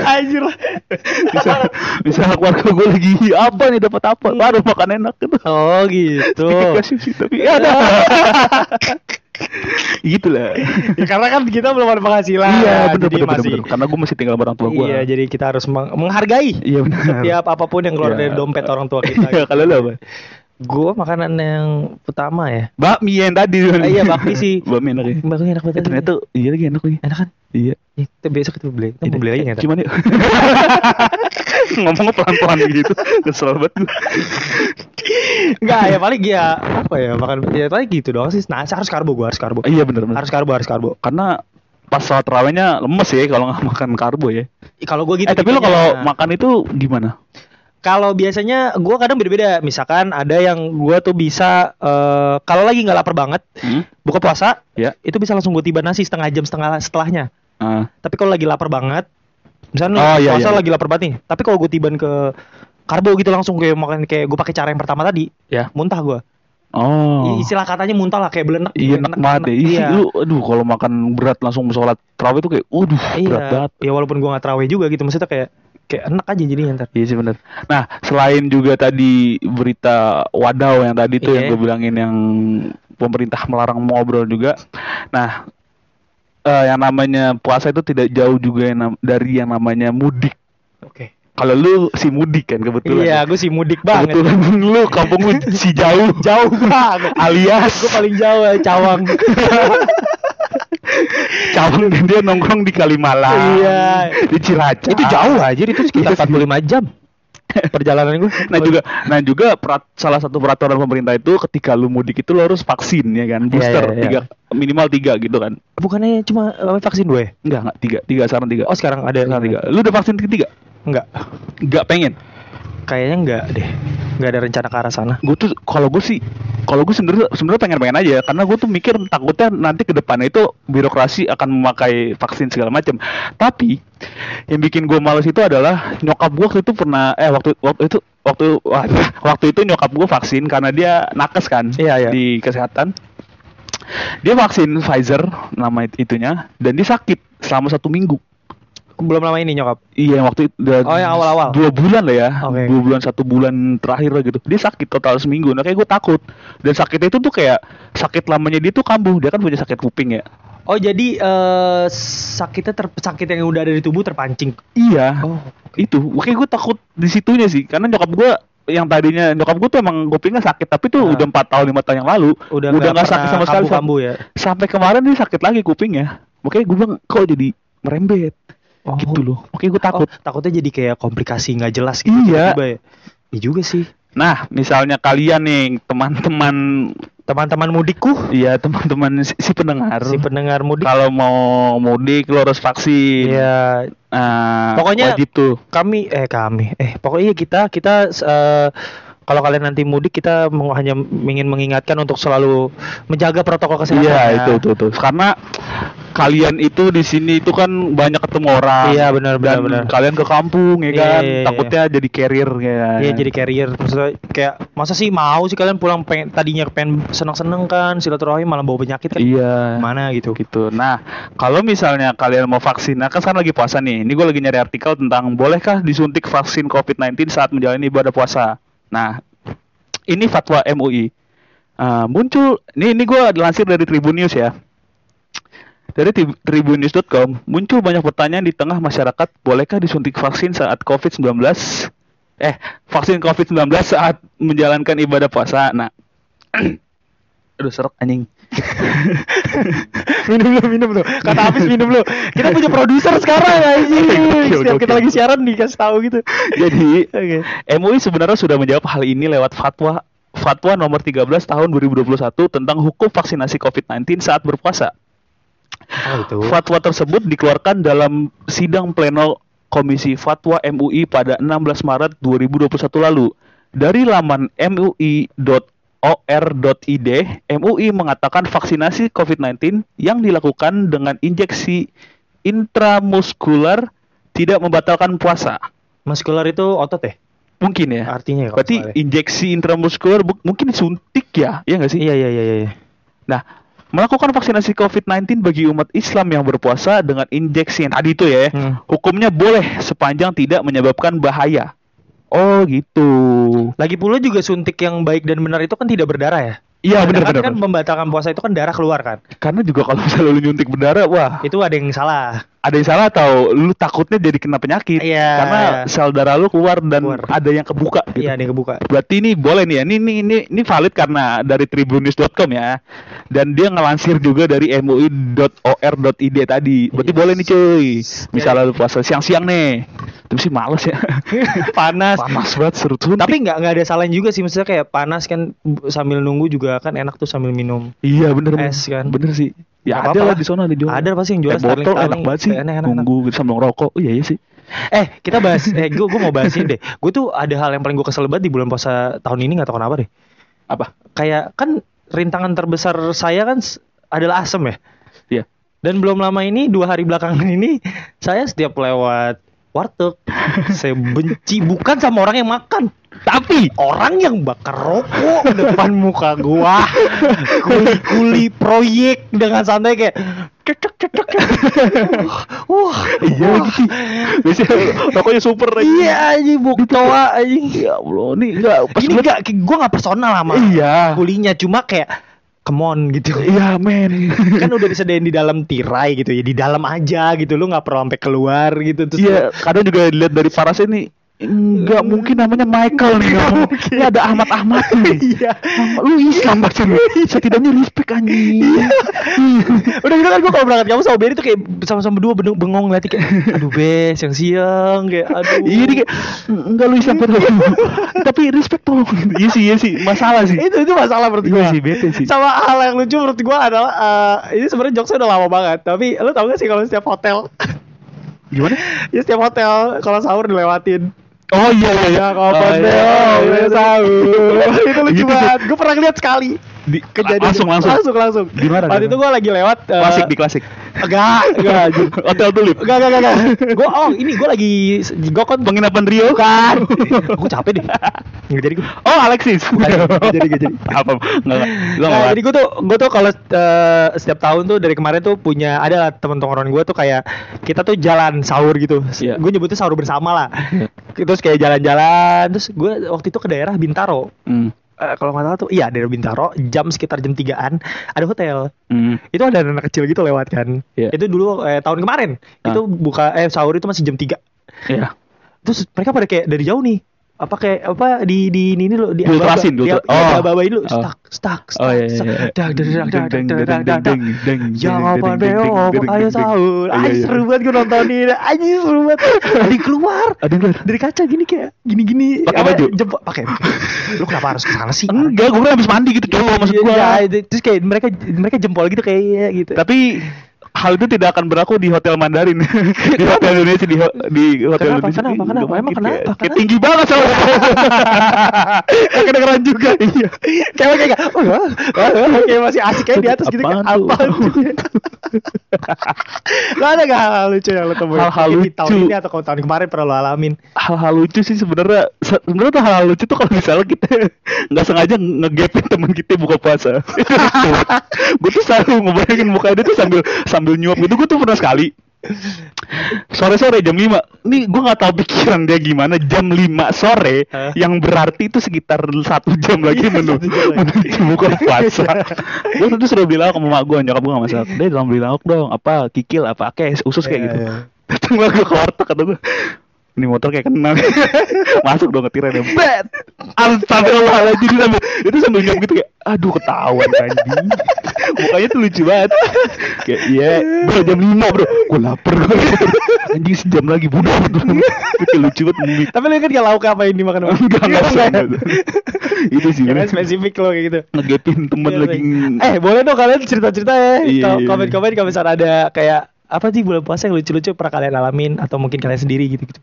B: Anjir. lah.
A: bisa bisa keluarga gue lagi apa nih dapat apa baru makan enak gitu
B: Oh gitu.
A: Sedikit kasih sih, tapi ya ada gitu lah
B: Ya, karena kan kita belum ada penghasilan.
A: iya bener
B: jadi
A: bener bener,
B: masih
A: bener. karena gue masih tinggal sama orang tua gue
B: Iya, jadi kita harus meng- menghargai
A: iya bener
B: setiap apapun yang keluar
A: Iya.
B: dari dompet orang tua kita. gitu.
A: Iya, kalau lu apa
B: Gue makanan yang pertama ya.
A: bakmi yang tadi
B: Ah, iya, bakmi sih.
A: bakmi enak ya
B: Mbak enak banget.
A: Eh, ternyata iya lagi enak lagi
B: enak kan?
A: Iya.
B: Ya, kita besok kita beli. Kita mau beli lagi nggak?
A: Gimana? yuk? Ngomongnya pelan-pelan gitu. Kesel banget gue.
B: Enggak, ya paling ya apa ya makan ya paling gitu doang sih. Nah, harus karbo gue harus karbo.
A: Iya bener bener.
B: Harus karbo, harus karbo.
A: Karena pas sholat terawihnya lemes ya kalau nggak makan karbo ya.
B: Ih, Kalau gue gitu.
A: eh tapi lo
B: tipenya.
A: kalau makan itu gimana?
B: kalau biasanya gue kadang beda-beda. Misalkan ada yang gue tuh bisa eh, kalau lagi nggak lapar banget
A: Hmm?
B: buka puasa
A: Ya.
B: itu bisa langsung gue tiba nasi setengah jam setengah setelahnya.
A: Ah.
B: Tapi kalau lagi lapar banget Misalnya
A: Oh, iya,
B: puasa
A: iya.
B: lagi lapar banget nih. Tapi kalau gue tiban ke karbo gitu langsung kayak makan kayak gue pakai cara yang pertama tadi,
A: Ya.
B: muntah gue.
A: Oh.
B: Iya, Istilah katanya muntah lah kayak belenak.
A: Iya enak banget ya. Ih,
B: Iya.
A: Lu aduh kalau makan berat langsung sholat tarawih itu kayak aduh
B: Iya.
A: berat banget.
B: Ya walaupun gue gak terawih juga gitu maksudnya kayak kayak enak aja jadinya ntar.
A: Iya sih bener. Nah selain juga tadi berita Wadaw yang tadi tuh
B: Iya.
A: yang gue bilangin yang pemerintah melarang ngobrol juga. Nah eh, yang namanya puasa itu tidak jauh juga yang nam- dari yang namanya mudik.
B: Oke.
A: Kalau lu si mudik kan kebetulan.
B: Iya, gue sih mudik banget.
A: Kebetulan lu kampung lu si jauh.
B: Jauh banget.
A: Alias
B: gue paling jauh ya, Cawang.
A: Cabang dia nongkrong di Kalimalang.
B: Iya.
A: Di Cilacap.
B: itu jauh aja itu Ah. sekitar 45 jam perjalanan gue.
A: Nah juga, nah juga perat- salah satu peraturan pemerintah itu ketika lu mudik itu lu harus vaksin ya kan, booster
B: iya, iya.
A: tiga minimal tiga gitu kan.
B: bukannya cuma eh, vaksin dua ya?
A: Enggak enggak tiga, tiga saran tiga.
B: Oh, sekarang ada
A: saran tiga. Lu udah vaksin ketiga?
B: Enggak.
A: Enggak pengen.
B: Kayaknya enggak deh. Enggak ada rencana ke arah sana.
A: Gue tuh kalau gue sih kalau gue sebenarnya sebenarnya pengen-pengen aja karena gue tuh mikir takutnya nanti ke depannya itu birokrasi akan memakai vaksin segala macam. Tapi yang bikin gue males itu adalah nyokap gue waktu itu pernah eh waktu waktu itu waktu wah, waktu itu nyokap gue vaksin karena dia nakes kan
B: Iya, iya.
A: di kesehatan. Dia vaksin Pfizer nama it- itunya dan dia sakit selama satu minggu.
B: Belum lama ini nyokap.
A: Iya yang waktu itu udah
B: Oh, yang awal-awal.
A: dua bulan lah ya,
B: Oke.
A: dua bulan satu bulan terakhir lah gitu. Dia sakit total seminggu. Nah kayak gue takut dan sakitnya itu tuh kayak sakit lamanya dia tuh kambuh. Dia kan punya sakit kuping ya.
B: Oh, jadi eh sakitnya ter sakit yang udah ada di tubuh terpancing.
A: Iya.
B: Oh.
A: Itu makanya gue takut di situnya sih karena nyokap gue yang tadinya nyokap gue tuh emang kupingnya sakit tapi tuh
B: Ah.
A: udah empat tahun lima tahun yang lalu
B: Udah
A: nggak sakit sama sekali sam-
B: kambu ya.
A: sampai kemarin dia sakit lagi kupingnya makanya gue bilang kok jadi merembet
B: Oh,
A: gitu loh makanya gue takut
B: Oh, takutnya jadi kayak komplikasi nggak jelas gitu
A: Iya.
B: tiba-tiba ya. Iya juga sih.
A: nah misalnya kalian nih teman-teman
B: Teman-teman mudikku,
A: Iya teman-teman si, si pendengar.
B: si pendengar mudik.
A: Kalau mau mudik lo harus vaksin.
B: Iya,
A: Nah,
B: Pokoknya-
A: wajib tuh.
B: kami eh kami eh pokoknya kita kita eh, kalau kalian nanti mudik kita meng- hanya ingin mengingatkan untuk selalu menjaga protokol kesehatan.
A: Iya
B: ya.
A: itu tuh tuh. Karena kalian itu di sini itu kan banyak ketemu orang.
B: Iya, benar, benar,
A: Dan
B: benar.
A: Kalian ke kampung ya
B: Iya,
A: kan.
B: iya, iya.
A: Takutnya jadi carrier ya.
B: Iya jadi carrier maksudnya kayak masa sih mau sih kalian pulang pengen tadinya pengen seneng-seneng kan silaturahmi malah bawa penyakit kan
A: Iya.
B: mana gitu.
A: gitu. Nah, kalau misalnya kalian mau vaksin, nah kan sekarang lagi puasa nih. Ini gue lagi nyari artikel tentang bolehkah disuntik vaksin COVID-19 saat menjalani ibadah puasa. Nah, ini fatwa MUI. Eh, muncul, ini ini gue lansir dari Tribun News ya. Dari tri- tribunnews.com muncul banyak pertanyaan di tengah masyarakat, bolehkah disuntik vaksin saat COVID-19? Eh, vaksin COVID-19 saat menjalankan ibadah puasa. Nah, aduh seret anjing.
B: minum lu minum lu. Kata habis minum lu. Kita punya produser sekarang ya
A: Oke, oke,
B: Setiap
A: oke.
B: kita lagi siaran dikasih tahu gitu.
A: Jadi
B: Oke.
A: MUI sebenarnya sudah menjawab hal ini lewat fatwa Fatwa nomor 13 tahun 2021 tentang hukum vaksinasi COVID-19 saat berpuasa.
B: Oh, itu.
A: Fatwa tersebut dikeluarkan dalam sidang pleno Komisi Fatwa MUI pada 16 Maret 2021 lalu. Dari laman mui.or.id, MUI mengatakan vaksinasi COVID-19 yang dilakukan dengan injeksi intramuskular tidak membatalkan puasa.
B: Muscular itu otot ya?
A: Mungkin ya.
B: Artinya ya kalau
A: Berarti
B: soalnya.
A: injeksi intramuskular bu- mungkin suntik ya, iya nggak sih?
B: Iya iya iya iya.
A: Nah, melakukan vaksinasi COVID-19 bagi umat Islam yang berpuasa dengan injeksi yang tadi itu ya,
B: Hmm.
A: hukumnya boleh sepanjang tidak menyebabkan bahaya. Oh gitu.
B: Lagi pula juga suntik yang baik dan benar itu kan tidak berdarah ya. Kadang
A: Iya
B: kan
A: benar-benar.
B: kan membatalkan puasa itu kan darah keluar kan.
A: Karena juga kalau misalnya lu nyuntik berdarah, wah
B: Itu ada yang salah.
A: ada yang salah atau lu takutnya jadi kena penyakit.
B: Iya,
A: Karena
B: iya.
A: sel darah lu keluar dan
B: Keluar.
A: ada yang kebuka. Gitu.
B: Iya ada yang kebuka.
A: Berarti ini boleh nih ya. Ini ini ini, ini valid karena dari tribunnews.com ya. Dan dia ngelansir juga dari mui.or.id tadi. Berarti
B: Yes.
A: boleh nih cuy. Misalnya lu puasa siang-siang nih. Tapi sih males ya.
B: Panas.
A: Panas banget serut suntik.
B: Tapi nggak nggak ada salahnya juga sih maksudnya kayak panas kan bu- sambil nunggu juga kan enak tuh sambil minum.
A: iya bener
B: es kan.
A: Bener sih.
B: Nggak
A: Ya ada
B: apa-apa
A: lah di sana ada jual.
B: Ada pasti yang jual
A: Eh, botol enak banget sih.
B: Iya, Enak, enak, enak.
A: Nunggu gitu sambil ngerokok. Oh iya iya sih.
B: Eh kita bahas eh gue gue mau bahas ini deh. Gue tuh ada hal yang paling gue kesel banget di bulan puasa tahun ini nggak tahu kenapa deh.
A: Apa?
B: Kayak kan rintangan terbesar saya kan s- adalah asem ya.
A: Iya.
B: Dan belum lama ini dua hari belakangan ini saya setiap lewat warteg. Saya benci bukan sama orang yang makan, tapi orang yang bakar rokok depan muka gua. Kuli-kuli proyek dengan santai kayak cecek cecek. Wah,
A: Iya lagi. Biasanya Gitu. rokoknya super lagi.
B: Iya anjing buktoa anjing.
A: Ya Allah, nih enggak pas
B: Ini
A: gua-
B: enggak gua enggak personal sama
A: Iya.
B: kulinya cuma kayak come on gitu.
A: Iya, men.
B: kan udah disediain di dalam tirai gitu ya di dalam aja gitu lu nggak perlu sampai keluar gitu terus
A: Iya, kadang juga dilihat dari parasnya nih Enggak mungkin namanya Michael nih
B: Nggak
A: kamu.
B: mungkin.
A: Ini ada Ahmad Ahmad
B: lu-
A: nih.
B: iya
A: Lu Islam pasti lu. Setidaknya respect anjing.
B: udah gitu kan gua kalau berangkat kamu sama Benny tuh kayak sama-sama berdua bengong, bengong ngeliatin kayak aduh be siang-siang kayak aduh
A: Iya ini kayak enggak lu Islam
B: Iya.
A: betul. Tapi respect tolong. Iya sih, iya sih, masalah sih.
B: itu itu masalah menurut
A: Iya
B: gua
A: sih, bete sih.
B: sama hal yang lucu menurut gua adalah eh, ini sebenarnya jokesnya udah lama banget tapi lu tau gak sih kalau setiap hotel
A: Gimana?
B: ya setiap hotel kalau sahur dilewatin
A: Oh iya iya iya.
B: ya kapan
A: Oh,
B: deh
A: iya, iya, iya.
B: sahur itu lucu
A: Gitu tuh.
B: banget gua pernah lihat sekali
A: Di,
B: kejadian
A: langsung langsung.
B: langsung langsung
A: Di mana,
B: waktu
A: di
B: itu gue
A: mana?
B: lagi lewat eh,
A: Klasik di klasik.
B: enggak enggak anjing.
A: Hotel Tulip.
B: enggak enggak enggak, enggak gue oh ini gue lagi gue kan
A: Penginapan Rio.
B: bukan gue capek deh nggak jadi gue
A: Oh Alexis.
B: Nggak Iya, jadi, nggak jadi.
A: Apa? Enggak. Lu
B: Nah,
A: enggak.
B: jadi gue tuh gue tuh kalau eh, setiap tahun tuh dari kemarin tuh punya ada lah teman-teman gue tuh kayak kita tuh jalan sahur gitu.
A: Iya.
B: Gue nyebutnya sahur bersama lah.
A: Iya.
B: Terus kayak jalan-jalan. Terus gue waktu itu ke daerah Bintaro.
A: Hmm.
B: Eh, kalau nggak salah tuh iya daerah Bintaro jam sekitar jam 3-an ada hotel
A: Hmm.
B: itu ada anak kecil gitu lewat kan
A: Iya.
B: itu dulu eh, tahun kemarin
A: Ah.
B: itu buka eh sahur itu masih jam 3
A: Iya.
B: terus mereka pada kayak dari jauh nih apa kayak apa di di ini ini lo di
A: Diultrasin,
B: di
A: diultra-
B: oh.
A: Oh.
B: ababain lu
A: Oh.
B: stuck stuck stuck
A: Oh, iya, iya,
B: stuck
A: iya.
B: dak dak dak dak
A: Deng,
B: dak
A: deng,
B: dak dak dak
A: deng, deng, deng,
B: ya
A: deng,
B: apa
A: deng, deng,
B: beo
A: deng, deng,
B: ayo
A: deng,
B: sahur
A: deng. Iya,
B: ayo
A: iya.
B: seru banget gue nontonin ayo seru banget dari keluar
A: Ada yang keluar?
B: dari kaca gini kayak gini gini
A: Pakai baju?
B: jempol pakai lu kenapa harus kesana sih
A: Enggak, gue habis mandi gitu cowok maksud gue.
B: Iya, itu- terus kayak mereka mereka jempol gitu kayak iya, gitu
A: Tapi hal itu tidak akan berlaku di hotel Mandarin di hotel Indonesia di, ho- di
B: Kenapa?
A: hotel Indonesia
B: Kenapa?
A: Ih,
B: Kenapa?
A: nggak
B: Emang
A: mungkin
B: kenapa?
A: kayak- kayak
B: Kenapa?
A: tinggi banget soalnya kayak kedengeran juga iya
B: Cewek kayak "Wah, wah, wah," kayak masih asik kayak di atas gitu kayak
A: Apaan tuh?
B: apa Lo ada gak hal-hal lucu yang lo temuin?
A: Hal-hal
B: Mungkin Di tahun
A: lucu.
B: ini atau kalau tahun kemarin pernah lo alamin
A: hal-hal lucu sih sebenarnya se- sebenarnya tuh hal-hal lucu tuh kalau misalnya kita nggak sengaja ngegepin teman kita buka puasa itu lucu gue tuh selalu ngebayangin muka dia tuh sambil sambil nyuap gitu gue tuh pernah sekali sore-sore jam 5 nih gue nggak tahu pikiran dia gimana jam 5 sore
B: Hah?
A: yang berarti itu sekitar satu jam lagi
B: Iya,
A: menu
B: satu jam lagi. Iya.
A: menuju buka puasa gue tuh sudah beli lauk sama mak gue nyokap gue nggak masak dia bilang beli lauk dong apa kikil apa kayak usus kayak
B: Iya,
A: gitu
B: iya.
A: datang lah gue ke warteg kata gue ini motor kayak kenal masuk dong ngetirnya dia bet astagfirullahaladzim dia sambil itu sambil nyam gitu kayak aduh ketahuan anjing mukanya tuh lucu banget kayak iya bro jam 5 bro gue lapar gua lapar. anjing sejam lagi bodoh itu kayak lucu banget mimik
B: Tapi lo kan gak lauk apa yang dimakan orang?
A: enggak enggak
B: Iya,
A: enggak, enggak. Iya, itu sih
B: Kira spesifik lo kayak gitu
A: ngegepin temen
B: Iya,
A: lagi
B: baik. Eh boleh dong kalian cerita-cerita ya
A: Iya,
B: Atau
A: iya.
B: Komen-komen kalau misalnya ada kayak apa sih bulan puasa yang lucu-lucu pernah kalian alamin atau mungkin kalian sendiri gitu-gitu.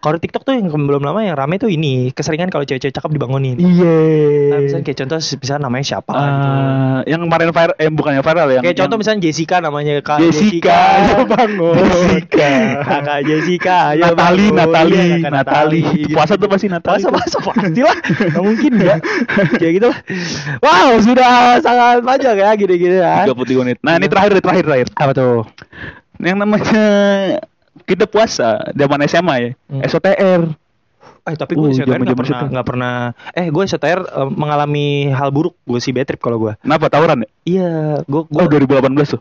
B: Kalau di TikTok tuh yang belum lama yang rame tuh ini keseringan kalau cewek-cewek cakep dibangunin.
A: iya
B: Nah, misalnya kayak contoh misalnya namanya siapa gitu.
A: Eh, yang kemarin viral eh bukannya viral yang
B: Kayak
A: yang-
B: contoh misalnya Jessica namanya Kak
A: Jessica,
B: Jessica.
A: bangun.
B: Jessica. Kakak Jessica, ayo
A: Natali,
B: bangun.
A: Oh, Natali,
B: Iya, Kakak
A: Natali.
B: Natali,
A: Puasa
B: gitu.
A: tuh pasti Natali.
B: Puasa, puasa pasti lah. Gak mungkin ya. Kayak gitu lah. Wow, sudah sangat panjang ya gini-gini ya.
A: 33 menit. Nah, ini terakhir, terakhir, terakhir.
B: Apa tuh?
A: Yang namanya kita puasa zaman SMA ya.
B: Hmm.
A: SOTR.
B: Eh tapi gue
A: Uh,
B: STR
A: zaman-zaman
B: nggak pernah
A: situ.
B: nggak pernah. Eh gue STR eh, mengalami hal buruk gue sih bad trip kalau gue.
A: Kenapa tawuran ya?
B: Iya, gue gue.
A: Oh, 2018 tuh.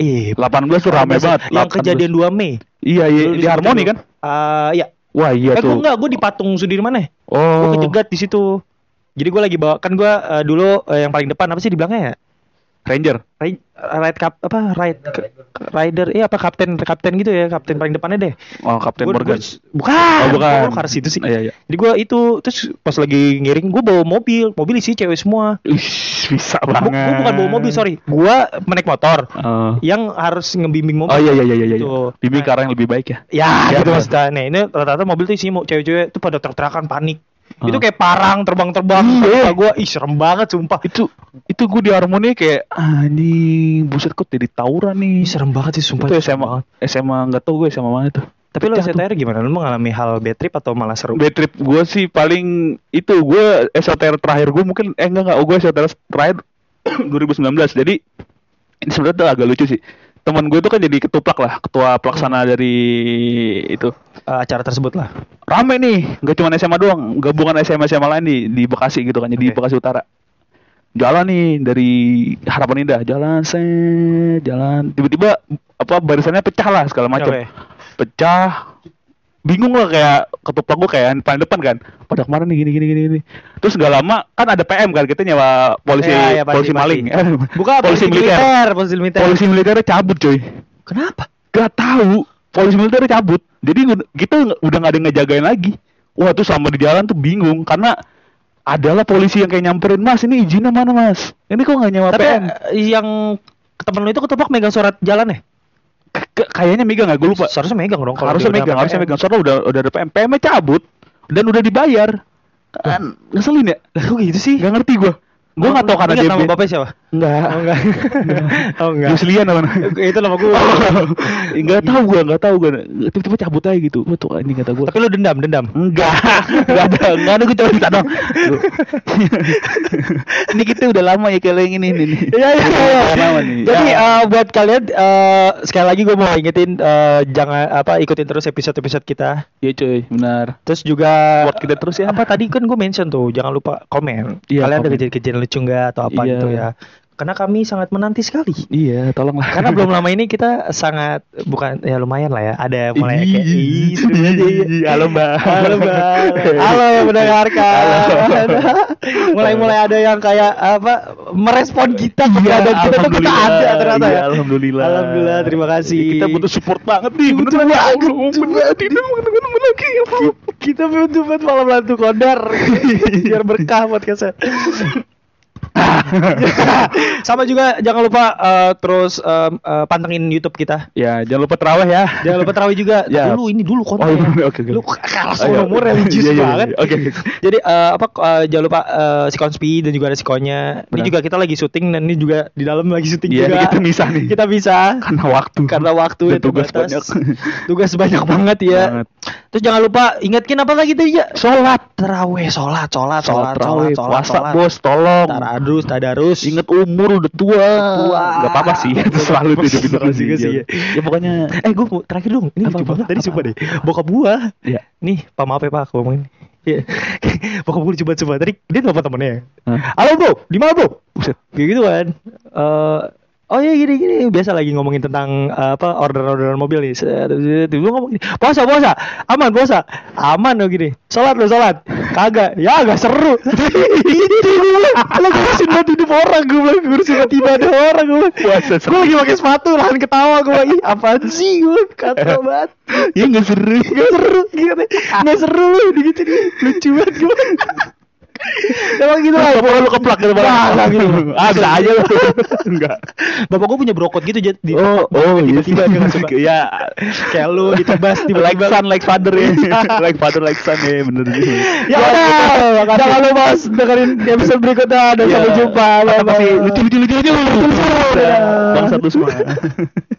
B: eh,
A: 18 tuh rame banget.
B: Yang
A: 18.
B: kejadian 2 Mei.
A: Iya, iya,
B: Dulu
A: di Harmoni
B: dulu.
A: kan?
B: Ah iya.
A: Wah, iya
B: Eh gue
A: tuh.
B: enggak, gue di patung Sudirman ya. Gue
A: Oh.
B: kejegat di situ. Jadi gue lagi bawa kan gue eh, dulu eh, yang paling depan apa sih dibilangnya ya?
A: Ranger.
B: Ride, eh, ride cap apa ride rider iya apa kapten kapten gitu ya kapten paling depannya deh
A: Oh, Kapten
B: Gua-
A: Morgan.
B: gua- bukan
A: Oh, bukan.
B: Gua ke arah situ sih
A: Iya, iya.
B: jadi gue itu terus pas lagi ngiring gue bawa mobil mobil isi cewek semua
A: Ish, bisa
B: Bu-
A: banget. Eh.
B: gua bukan bawa mobil sorry gue menaik motor
A: Oh.
B: yang harus ngebimbing mobil
A: Oh iya iya iya iya iya.
B: Tuh.
A: Bimbing ke
B: Nah.
A: arah yang lebih baik ya.
B: ya
A: Iya,
B: gitu
A: iya.
B: maksudnya nah ini rata-rata mobil tuh isinya mau cewek-cewek tuh pada terterakan panik Itu kayak parang terbang-terbang.
A: Ah. Iya.
B: Muka gua ih serem banget sumpah.
A: itu itu gue di harmoni kayak anjing buset kok jadi tawuran nih
B: Ih, serem banget sih sumpah.
A: itu
B: serem
A: SMA
B: banget.
A: SMA nggak tau gue SMA mana tuh
B: Tapi lo
A: Pecah tuh.
B: STR gimana? Lo mengalami hal bad trip atau malah seru?
A: Bad trip gue sih paling itu gue SOTR terakhir gue mungkin eh enggak enggak oh, gue SOTR terakhir 2019 jadi ini sebenarnya tuh agak lucu sih teman gue tuh kan jadi ketuplak lah ketua pelaksana dari itu
B: Eh, acara tersebut lah.
A: rame nih nggak cuma SMA doang gabungan SMA SMA lain di di Bekasi gitu kan jadi
B: Oke.
A: Bekasi Utara jalan nih dari Harapan Indah jalan set jalan tiba-tiba apa barisannya pecah lah segala macam
B: Oke.
A: pecah bingung lah kayak ketupat gue kayak yang paling depan kan pada kemarin nih gini gini gini gini terus nggak lama kan ada PM kan kita nyewa polisi
B: Iya, iya, pasti,
A: polisi maling
B: pasti. Bukan
A: polisi militer
B: polisi militer.
A: polisi militer cabut coy
B: Kenapa?
A: Gak tahu polisi militer cabut. Jadi ud- kita nge- udah gak ada yang ngejagain lagi. Wah tuh sama di jalan tuh bingung karena adalah polisi yang kayak nyamperin mas ini izinnya mana mas? Ini kok nggak nyewa
B: Tapi
A: PM?
B: eh, yang temen lo itu ketupak megang surat jalan ya?
A: K- k- kayaknya megang nggak gue lupa.
B: Seharusnya megang dong kalau "Eh,
A: Harusnya
B: udah
A: megang,
B: dapat
A: harusnya
B: PM.
A: megang. Soalnya udah udah ada PM, PM -nya cabut dan udah dibayar. Kan ngeselin ya?
B: Lah kok gitu sih?
A: Gak ngerti gue. Gue nggak tahu karena
B: Ingat
A: dia
B: nama bapaknya siapa?
A: Enggak.
B: Oh enggak. oh enggak.
A: Yuslian apa
B: Itu nama gue.
A: Enggak tahu gue, enggak tahu gue. Tiba-tiba cabut aja gitu. Wah tuh ini kata gue.
B: Tapi lo dendam, dendam.
A: Enggak, enggak ada, enggak ada gue cuma minta dong. Lu- ini kita udah lama ya kalau yang ini ini. ini.
B: Iya iya iya.
A: Udah lama nih.
B: Jadi
A: Ya.
B: eh, buat kalian eh, sekali lagi gue mau ingetin eh, jangan apa ikutin terus episode-episode kita.
A: Iya cuy, benar.
B: Terus juga
A: Support kita terus ya.
B: Apa tadi kan gue mention tuh, jangan lupa komen. kalian
A: Iya,
B: ada
A: komen.
B: kejadian-kejadian lucu nggak atau apa
A: Iya.
B: gitu ya. Karena kami sangat menanti sekali.
A: Iya, tolonglah.
B: Karena belum lama ini kita sangat bukan ya lumayan lah ya. Ada mulai kayak
A: Ih,
B: Ih, seru aja ya.
A: ih, halo, Mbak.
B: Halo Mbak. Halo yang mendengarkan.
A: Halo.
B: Mulai-mulai ada yang kayak apa merespon kita
A: Iya,
B: keberadaan kita tuh kita ada
A: alhamdulillah.
B: ternyata
A: Iya,
B: ya.
A: alhamdulillah.
B: Alhamdulillah, terima kasih.
A: Kita butuh support banget nih.
B: Butuh
A: Beneran ya
B: banget,
A: Allah,
B: butuh
A: beneran tidak menunggu lagi. ya Allah.
B: Kita butuh banget malam lantu kodar biar berkah podcastnya. Sama juga jangan lupa eh, terus em, eh, pantengin YouTube kita.
A: Ya, jangan lupa terawih ya.
B: Jangan lupa terawih juga.
A: Ya.
B: Dulu ini dulu konten.
A: Oh, iya, oke, oke.
B: Lu kalah
A: Oh, iya.
B: sama nomor religius
A: Iya, iya, iya.
B: banget.
A: Oke, oke.
B: Jadi eh, apa eh, jangan lupa eh, si Konspi dan juga ada si Konya. Ini
A: Benar.
B: juga kita lagi syuting dan ini juga di dalam lagi syuting
A: Iya,
B: juga.
A: ini kita bisa nih.
B: kan. Kita bisa.
A: Karena waktu.
B: Karena waktu
A: Dan
B: itu
A: tugas banyak.
B: Tugas banyak banget ya.
A: Banget.
B: Terus jangan lupa ingatkin apa lagi tuh ya?
A: Sholat.
B: Terawih, sholat, sholat, sholat, sholat,
A: Sholat, terawih,
B: sholat,
A: puasa
B: sholat.
A: bos, tolong.
B: Tadarus, tadarus.
A: Ingat umur udah tua.
B: Tua.
A: Gak apa-apa sih. Itu selalu itu hidup hidup
B: Selalu juga sih, ya.
A: Ya pokoknya
B: Eh gue terakhir dong Ini
A: Apa,
B: lucu
A: apa,
B: banget Tadi
A: apa?
B: sumpah deh Bokap gua
A: ya.
B: Nih pak maaf ya pak Aku ngomongin Iya. Bokap gua lucu banget sumpah Tadi dia telepon temennya
A: Hah?
B: Halo bro di mana bro
A: Buset.
B: Kayak gitu kan Eh, Oh iya gini gini Biasa lagi ngomongin tentang eh, Apa orderan-orderan mobil nih Set, set, Tiba-tiba ngomong gini Puasa puasa Aman puasa Aman lo gini Sholat lo sholat Kagak Ya agak seru Itu gue Lo ngurusin banget hidup orang Gue bilang ngurusin banget ibadah orang Gue bilang.
A: Puasa
B: Gue lagi pakai sepatu lahan ketawa gue ih apaan sih gue kata banget
A: Ya gak seru.
B: nggak seru gitu nggak seru lu gitu lucu banget gue emang gitu lah
A: Bapak lu keplak gitu Bang.
B: Nah, nah, gitu.
A: Ah, bisa aja lu. Enggak.
B: bapak gue punya brokot gitu jadi di-
A: Oh, oh,
B: tiba-tiba dia nggak suka.
A: ya.
B: kayak lu ditebas tiba
A: Like son, like father ya. like father, like son ya, bener sih.
B: ya udah jangan lupa mas dengerin episode berikutnya dan
A: Ya.
B: sampai jumpa
A: Apa
B: bye
A: sih?
B: bye
A: Lucu, lucu, lucu, lucu.
B: Dadah.
A: Bang satu semua.